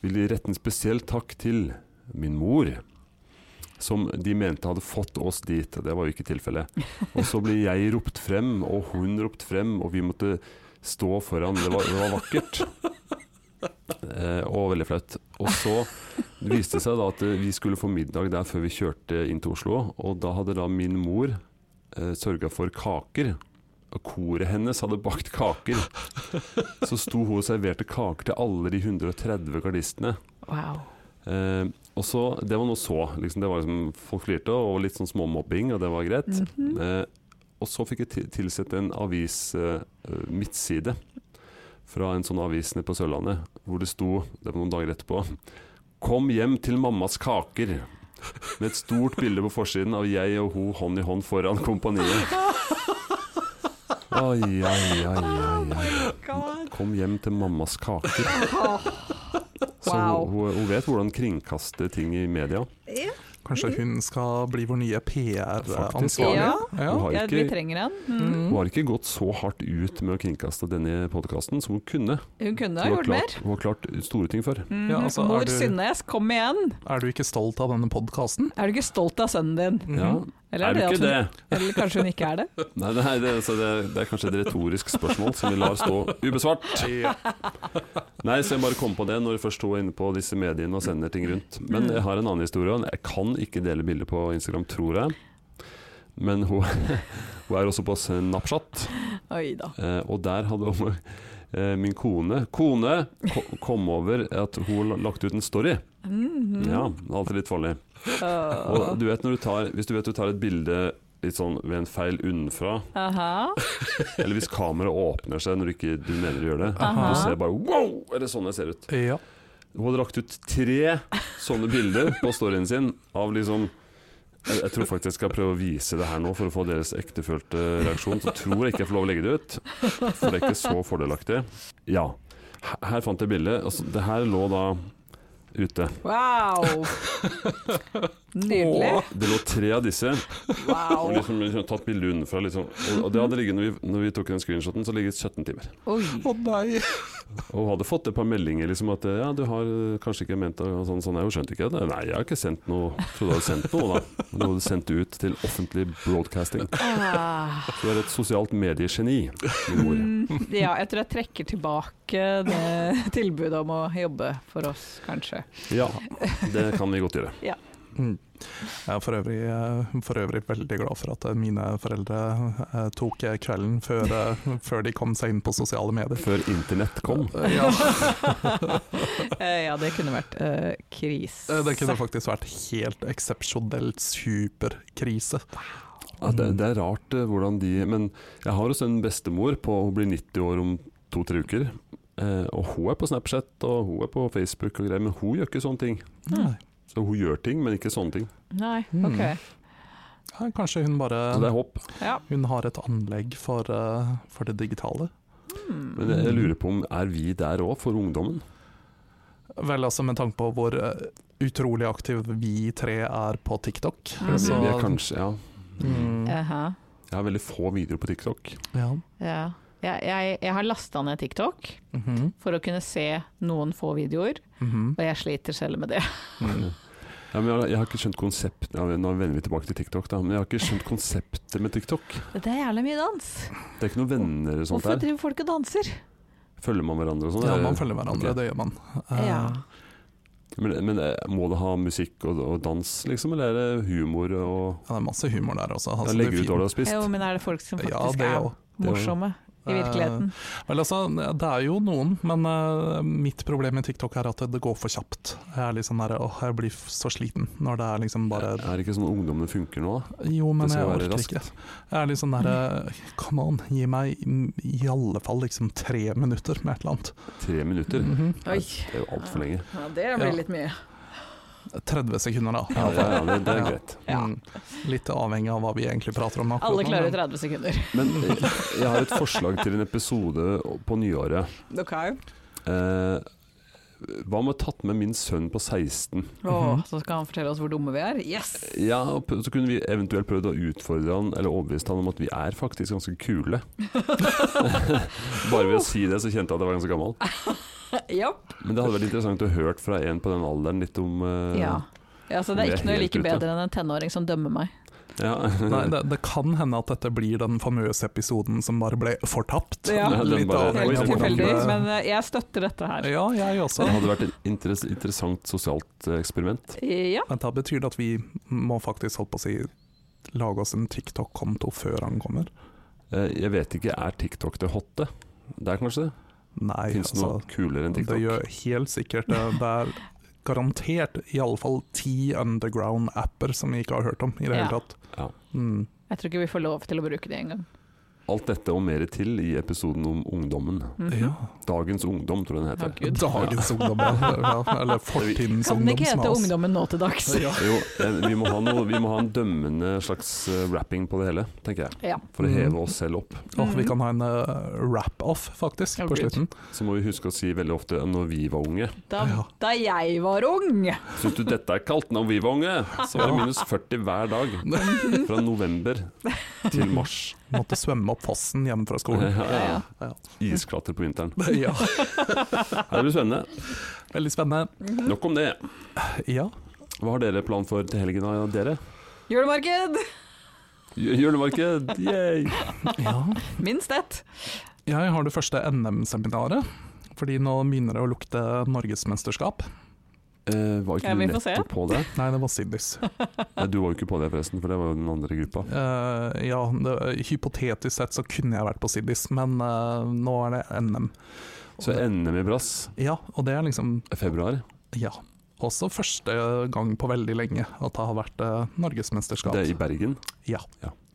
S1: vil de rette en spesiell takk til min mor som de mente hadde fått oss dit. Det var jo ikke tilfellet. Og så ble jeg ropt frem, og hun ropt frem, og vi måtte stå foran. Det var, det var vakkert. Eh, og veldig flaut. Og så viste det seg da at eh, vi skulle få middag der før vi kjørte inn til Oslo. Og da hadde da min mor eh, sørga for kaker. Og koret hennes hadde bakt kaker. Så sto hun og serverte kaker til alle de 130 gardistene.
S2: Wow.
S1: Eh, og så, Det var noe så. Liksom, det var liksom, folk flirte og litt sånn småmobbing, og det var greit.
S2: Mm.
S1: eh, og så fikk jeg ti- tilsett en avis eh, midtside fra en sånn avis nede på Sørlandet, hvor det sto det var noen dager etterpå 'Kom hjem til mammas kaker'. Med et stort bilde på forsiden av jeg og hun hånd i hånd foran kompaniet. Oi, oi, oi, oi, oi. Kom hjem til mammas kaker. Så
S2: Wow.
S1: hun, hun, hun vet hvordan kringkaste ting i media.
S3: Kanskje hun skal bli vår nye PR-ansvarlig?
S2: Mm. Ja.
S1: Hun, har
S2: Ja, vi
S1: ikke,
S2: trenger en. Mm.
S1: hun
S3: Mm.
S1: har ikke gått så hardt ut med å kringkaste denne podkasten som hun kunne.
S2: Hun kunne ha
S1: Hun har, klart,
S2: gjort mer.
S1: hun har klart store ting før.
S2: Mm.
S3: Ja, altså, er
S2: Mor
S3: du-
S2: Synnes, kom igjen!
S3: Er du ikke stolt av denne podkasten?
S2: Er du ikke stolt av sønnen
S3: Mm.
S2: din?
S1: Ja. Er du
S2: at
S1: ikke
S2: hun,
S1: det?
S2: Eller kanskje hun ikke er det?
S1: Nei, det, er- det, altså, det, er- det er kanskje et retorisk spørsmål som vi lar stå ubesvart. Nei, så jeg bare kom på det når jeg først sto inne på disse mediene og sender ting rundt. Men jeg har en annen historie. og Jeg kan ikke dele bilder på Instagram, tror jeg. Men hun, hun er også på Snapchat.
S2: Oi da.
S1: Eh, og der hadde hun, eh, min kone Kone ko- kom over at hun la- lagt ut en story.
S2: Mhm.
S1: Ja, alltid litt farlig.
S2: Åh.
S1: Og du vet når du tar, hvis du vet du tar et bilde litt sånn ved en feil unnafra,
S2: Aha.
S1: eller hvis kameraet åpner seg når du ikke du mener du gjør det,
S2: Aha.
S1: du ser bare wow, er det sånn jeg ser ut?
S3: Ja.
S1: Hun hadde lagt ut tre sånne bilder på storyen sin av liksom jeg, jeg tror faktisk jeg skal prøve å vise det her nå for å få deres ektefølte reaksjon. Så tror jeg ikke jeg får lov å legge det ut, for det er ikke så fordelaktig. Ja, her- her fant jeg bildet. Altså, det her lå da ute.
S2: Wow! Nydelig.
S1: Det lå tre av disse. Og
S2: Wow.
S1: liksom, liksom tatt bildet unnafra. Liksom. Og- Og det hadde ligget når vi, når vi tok den screenshoten, så ligget 17 timer.
S2: Oi.
S3: Å nei!
S1: Og hun hadde fått et par meldinger liksom at ja, du har eh, kanskje ikke ment det og sånn, sånn. Jeg skjønte ikke det. Nei, jeg har ikke sendt noe. Jeg trodde du hadde sendt noe, da. Men du hadde sendt det ut til offentlig broadcasting.
S2: Ah.
S1: Du er et sosialt mediegeni, min mor.
S2: Mm, Ja, jeg tror jeg trekker tilbake det tilbudet om å jobbe for oss, kanskje.
S1: Ja, det kan vi godt gjøre.
S3: Mm. Jeg er for øvrig, eh, for øvrig veldig glad for at eh, mine foreldre eh, tok eh, kvelden før, eh, før de kom seg inn på sosiale medier.
S1: Før internett kom.
S3: Ja,
S2: Eh, Ja, det kunne vært eh, krise.
S3: eh, det kunne faktisk vært helt eksepsjonelt superkrise.
S1: Ja, det, det er rart eh, hvordan de Men jeg har også en bestemor på Hun blir 90 år om to-tre uker. Eh, og hun er på Snapchat og hun er på Facebook og greier, men hun gjør ikke sånne ting.
S2: Mm.
S3: Nei.
S1: Så hun gjør ting, men ikke sånne ting.
S2: Nei,
S3: Mm.
S2: ok.
S3: Ja, Kanskje hun
S1: Så det
S3: bare
S1: er håp.
S2: Ja.
S3: hun har et anlegg for, eh, for det digitale.
S2: Mm.
S1: Men jeg, jeg lurer på om er vi der òg, for ungdommen?
S3: Vel, altså med tanke på hvor eh, utrolig aktive vi tre er på TikTok.
S2: Mhm.
S1: Mm. Vi,
S3: så-
S1: vi er kanskje, ja.
S3: Altså- Mm,
S2: Aha.
S1: Jeg har veldig få videoer på TikTok.
S3: ja.
S2: Ja. Jeg, jeg, jeg har lasta ned TikTok
S3: Mhm,
S2: for å kunne se noen få videoer,
S3: mhm,
S2: og jeg sliter selv med det.
S1: Mm.
S3: mhm.
S1: Ja, men jeg, har- jeg har ikke skjønt konsept ja, Nå vender vi tilbake til TikTok, da. Men jeg har ikke skjønt konseptet med TikTok.
S2: Det er jævlig mye dans.
S1: Det er ikke noen venner og sånt
S2: Hvorfor
S1: der.
S2: driver folk og danser?
S1: Følger man hverandre og sånn?
S3: Ja,
S1: eller?
S3: man følger hverandre,
S1: Ok.
S3: det gjør man. Eh,
S1: Men, men eh, må det ha musikk og, og dans, liksom? Eller er det humor og
S3: Ja, det er masse humor der også.
S1: ja,
S3: altså, det
S1: Legge
S3: er
S1: ut
S3: fint.
S1: hva du har spist?
S2: Jo, men er det folk som
S3: Ja,
S2: faktisk
S3: det
S2: er
S3: òg.
S2: morsomme i virkeligheten?
S3: Vel, altså, det er jo noen, men eh, mitt problem med TikTok er at det går for kjapt. Jeg er liksom der, åh, jeg blir så sliten når det er liksom bare
S1: Er det ikke sånn ungdommene funker nå, da?
S3: Jo, men
S1: Det skal
S3: jeg
S1: være
S3: orker
S1: raskt.
S3: ikke. Jeg er litt sånn derre Come on, gi meg i alle fall liksom tre minutter med et eller annet.
S1: Tre minutter?
S3: Mhm.
S2: Oi.
S1: Det er jo altfor lenge.
S2: Ja, det
S3: blir Ja.
S2: litt mye.
S3: 30 sekunder, da.
S1: Ja, ja, ja, det, det er
S3: Ja.
S1: greit.
S2: Ja.
S3: Mm. Litt avhengig av hva vi egentlig prater om. akkurat
S2: Alle
S3: nå,
S2: klarer
S3: men-
S2: 30 sekunder.
S1: Men eh, jeg har et forslag til en episode på nyåret.
S2: Ok.
S1: Eh, hva med å tatt med min sønn på 16?
S2: Åh, så skal han fortelle oss hvor dumme vi er. Yes!
S1: Ja, og p- så kunne vi eventuelt prøvd å utfordre han, eller overbevist han om at vi er faktisk ganske kule. Bare ved å si det, så kjente jeg at jeg var ganske gammel.
S2: Ja.
S1: Men det hadde vært interessant å høre fra en på den alderen litt om eh,
S2: ja. ja så det
S1: Vi
S2: er
S1: er
S2: ikke noe jeg
S1: helt
S2: liker
S1: ute.
S2: bedre enn en tenåring som dømmer meg.
S1: ja.
S3: Nei, det, det kan hende at dette blir den famøse episoden som bare ble fortapt.
S2: Ja.
S1: Ja, den
S3: Litt
S1: bare-
S3: avhengig
S1: Helt
S3: av
S2: Helt
S3: hvordan
S2: tilfeldig,
S3: det-
S2: men eh, jeg støtter dette her.
S3: Ja, jeg også.
S1: Det hadde vært et interess interessant sosialt eh, eksperiment.
S2: Ja.
S3: Men da betyr det at vi må faktisk holdt på å si lage oss en TikTok-konto før han kommer.
S1: Eh, jeg vet ikke, er TikTok det hotte? Det er kanskje det?
S3: Nei, altså,
S1: Fins det noe kulere enn
S3: det
S1: TikTok?
S3: gjør helt sikkert eh, det. Det er garantert iallfall ti underground-apper som vi ikke har hørt om i det
S2: Ja.
S3: hele tatt.
S1: Ja.
S3: Mm.
S2: Jeg tror ikke vi får lov til å bruke det engang.
S1: Alt dette og mer til i episoden om ungdommen.
S2: Mhm.
S3: Ja.
S1: Dagens ungdom, tror jeg den heter.
S2: Å, Gud.
S3: Dagens ungdom, ja. Ja, eller fortidens
S2: Kan den ikke hete
S3: ungdomsmas.
S2: Ungdommen nå til dags?
S3: Ja.
S1: Jo, eh, vi må, ha noe, vi må ha en dømmende slags eh, rapping på det hele, tenker jeg.
S2: Ja.
S1: For å
S3: Mm.
S1: heve oss selv opp.
S3: Åh, vi kan ha en eh, wrap-off, faktisk,
S2: Å,
S3: på
S2: Gud.
S3: slutten.
S1: Så må vi huske å si veldig ofte når vi var unge.
S2: Da,
S3: Ja.
S2: da jeg var ung!
S1: Syns du dette er kaldt? Når vi var unge, så var det minus 40 hver dag. Fra november til mars.
S3: Måtte svømme opp fossen hjemme fra skolen.
S1: Ja,
S3: Ja.
S1: ja. Isklatter på vinteren.
S3: Ja,
S1: Det blir spennende.
S3: Veldig spennende.
S1: Nok om det.
S3: Ja.
S1: Hva har dere plan for til helgen? da, Dere?
S2: Julemarked!
S1: J- Julemarked, yay!
S3: ja.
S2: Minst ett.
S3: Jeg har det første NM-seminaret, fordi nå begynner det å lukte norgesmesterskap.
S1: Eh, var ikke
S2: Ja,
S1: du
S2: vi får se.
S1: nettopp på det?
S3: Nei, det var Siddis.
S1: Nei, du var jo ikke på det, forresten, for det var jo den andre gruppa.
S3: Eh, ja, det, hypotetisk sett så kunne jeg vært på Siddis, men eh, nå er det NM. Og
S1: Så
S3: det-
S1: NM i brass
S3: Ja, og det er liksom
S1: februar.
S3: Ja. Også første gang på veldig lenge at det har vært eh, norgesmesterskap.
S1: Det er i Bergen.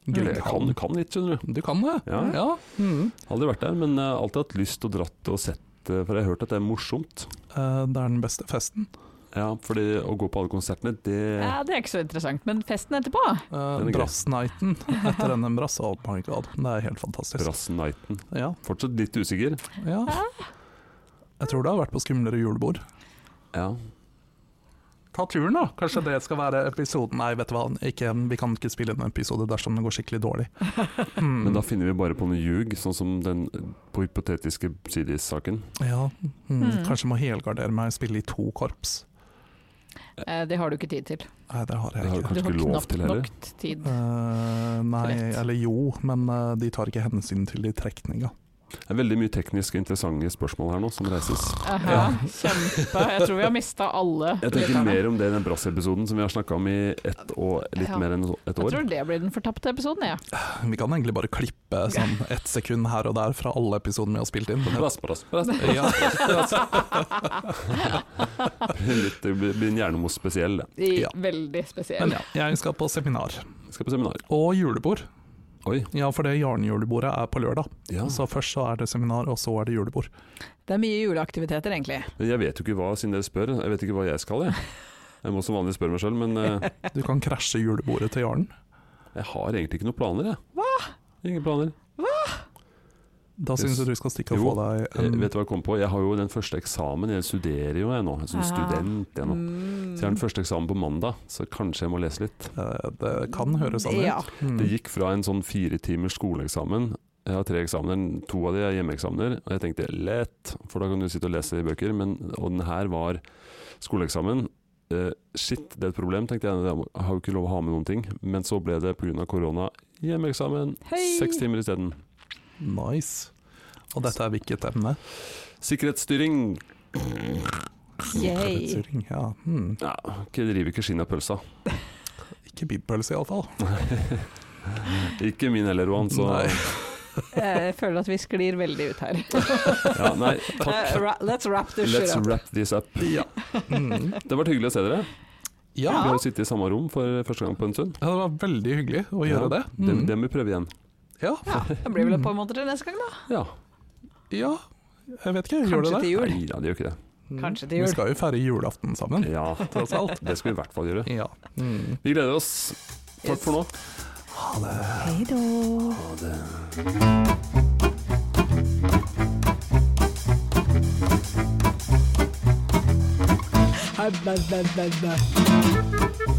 S1: Jeg kan,
S3: Gullhallen.
S1: kan litt, skjønner du.
S3: Du kan det?
S1: Ja.
S3: ja. Mm.
S1: Aldri vært der, men jeg har alltid hatt lyst og dratt og sett, eh, for jeg har hørt at det er morsomt.
S3: Eh, det er den beste festen.
S1: Ja, fordi å gå på alle konsertene, det
S2: Ja, det er ikke så interessant, men festen etterpå
S3: Uh,
S1: Den er gøy.
S3: Brassnighten etter NM Brass, oh my god. Det er helt fantastisk.
S1: Brass-nighten.
S3: Ja,
S1: Fortsatt litt usikker.
S3: ja. Jeg tror det har vært på skumlere julebord.
S1: Ja.
S3: Ta turen, da. Kanskje det skal være episoden. Nei, vet du hva, ikke, vi kan ikke spille en episode dersom det går skikkelig dårlig. Mm.
S1: Men da finner vi bare på noe ljug, sånn som den eh, på hypotetiske Sidis-saken.
S3: ja, mm,
S2: Mm.
S3: Kanskje må helgardere meg og spille i to korps.
S2: eh, Det har du ikke tid til.
S3: Nei, det har
S1: Det
S3: jeg
S1: har
S3: ikke.
S1: kanskje
S2: Du har
S1: ikke lov
S2: knapt
S1: til heller.
S2: nok tid.
S3: Eh, nei,
S2: Rett.
S3: eller jo, men eh, de tar ikke hensyn til de trekninga.
S1: Det er veldig mye teknisk og interessante spørsmål her nå som reises.
S2: Aha,
S3: Ja.
S2: Kjempe. Jeg tror vi har mista alle.
S1: Jeg tenker
S2: lytterne.
S1: mer om det i den Brass-episoden som vi har snakka om i ett og litt
S2: Ja.
S1: mer enn et
S2: Jeg
S1: år.
S2: tror det blir den fortapte episoden, jeg.
S3: Vi kan egentlig bare klippe sånn ett sekund her og der fra alle episodene vi har spilt inn.
S1: Brass, brass, brass.
S3: Ja,
S1: Litt, det blir blir en hjernemos spesiell, det.
S2: I
S3: Ja.
S2: Veldig spesiell.
S3: Men ja, jeg skal på seminar.
S1: Skal på seminar.
S3: Og julebord.
S1: Oi.
S3: Ja, for det jarnjulebordet er på lørdag.
S1: Ja.
S3: Så først så er det seminar, og så er det julebord.
S2: Det er mye juleaktiviteter, egentlig.
S1: Men jeg vet jo ikke hva, siden dere spør. Jeg vet ikke hva jeg skal, jeg. Jeg må som vanlig spørre meg sjøl, men eh,
S3: Du kan krasje julebordet til jarnen.
S1: jeg har egentlig ikke noen planer, jeg. Hva? Ingen planer.
S3: Da
S1: Yes.
S3: syns jeg du skal stikke og
S1: Jo,
S3: få deg
S1: Jeg,
S3: en
S1: Eh, vet du hva jeg kom på? Jeg har jo den første eksamen. Jeg studerer jo jeg nå, jeg er som
S2: Ah.
S1: student jeg nå.
S2: Mm.
S1: Så jeg har den første eksamen på mandag, så kanskje jeg må lese litt.
S3: eh, Det kan høres sånn
S2: Ja.
S3: ut. Mm.
S1: Det gikk fra en sånn fire timers skoleeksamen Jeg har tre eksamener, to av de er hjemmeeksamener. Og jeg tenkte lett, for da kan du sitte og lese i bøker. Men, og den her var skoleeksamen. Eh, shit, det er et problem, tenkte jeg. Jeg må- Jeg har jo ikke lov å ha med noen ting. Men så ble det pga. korona hjemmeeksamen.
S2: Hei!
S1: Seks timer isteden.
S3: Nice. Og dette er hvilket emne?
S1: Sikkerhetsstyring.
S2: Yay.
S3: Kveitsuring, Ja. Hmm.
S1: Ja, ikke, driver ikke skinnapølsa.
S3: Ikke bibbpølse, iallfall.
S1: Ikke min heller, Roan. Så
S3: Nei.
S2: Jeg føler at vi sklir veldig ut her.
S1: ja, nei,
S2: Eh,
S1: takk.
S2: ra- let's wrap this shit
S1: Let's
S2: up.
S1: wrap this up.
S3: Ja. Mm.
S1: Det har vært hyggelig å se dere. Vi
S3: ja.
S1: har jo sittet i samme rom for første gang på en stund.
S3: Det var veldig hyggelig å gjøre det.
S1: Det,
S3: Mm.
S1: det må vi prøve igjen.
S3: Ja.
S2: Ja, det blir vel et par måneder til neste gang, da.
S1: Ja.
S3: ja. Jeg vet ikke, gjør det
S2: Kanskje
S3: det?
S2: til jul.
S1: Nei da, det gjør ikke det.
S3: Mm.
S2: Kanskje til jul.
S3: Vi skal jo feire julaften sammen,
S1: Ja,
S3: tross alt.
S1: det skal vi i hvert fall gjøre.
S3: Ja. Mm.
S1: Vi gleder oss. Takk
S2: Yes.
S1: for nå.
S2: Hei da.
S4: Bye, bye, bye, bye, bye.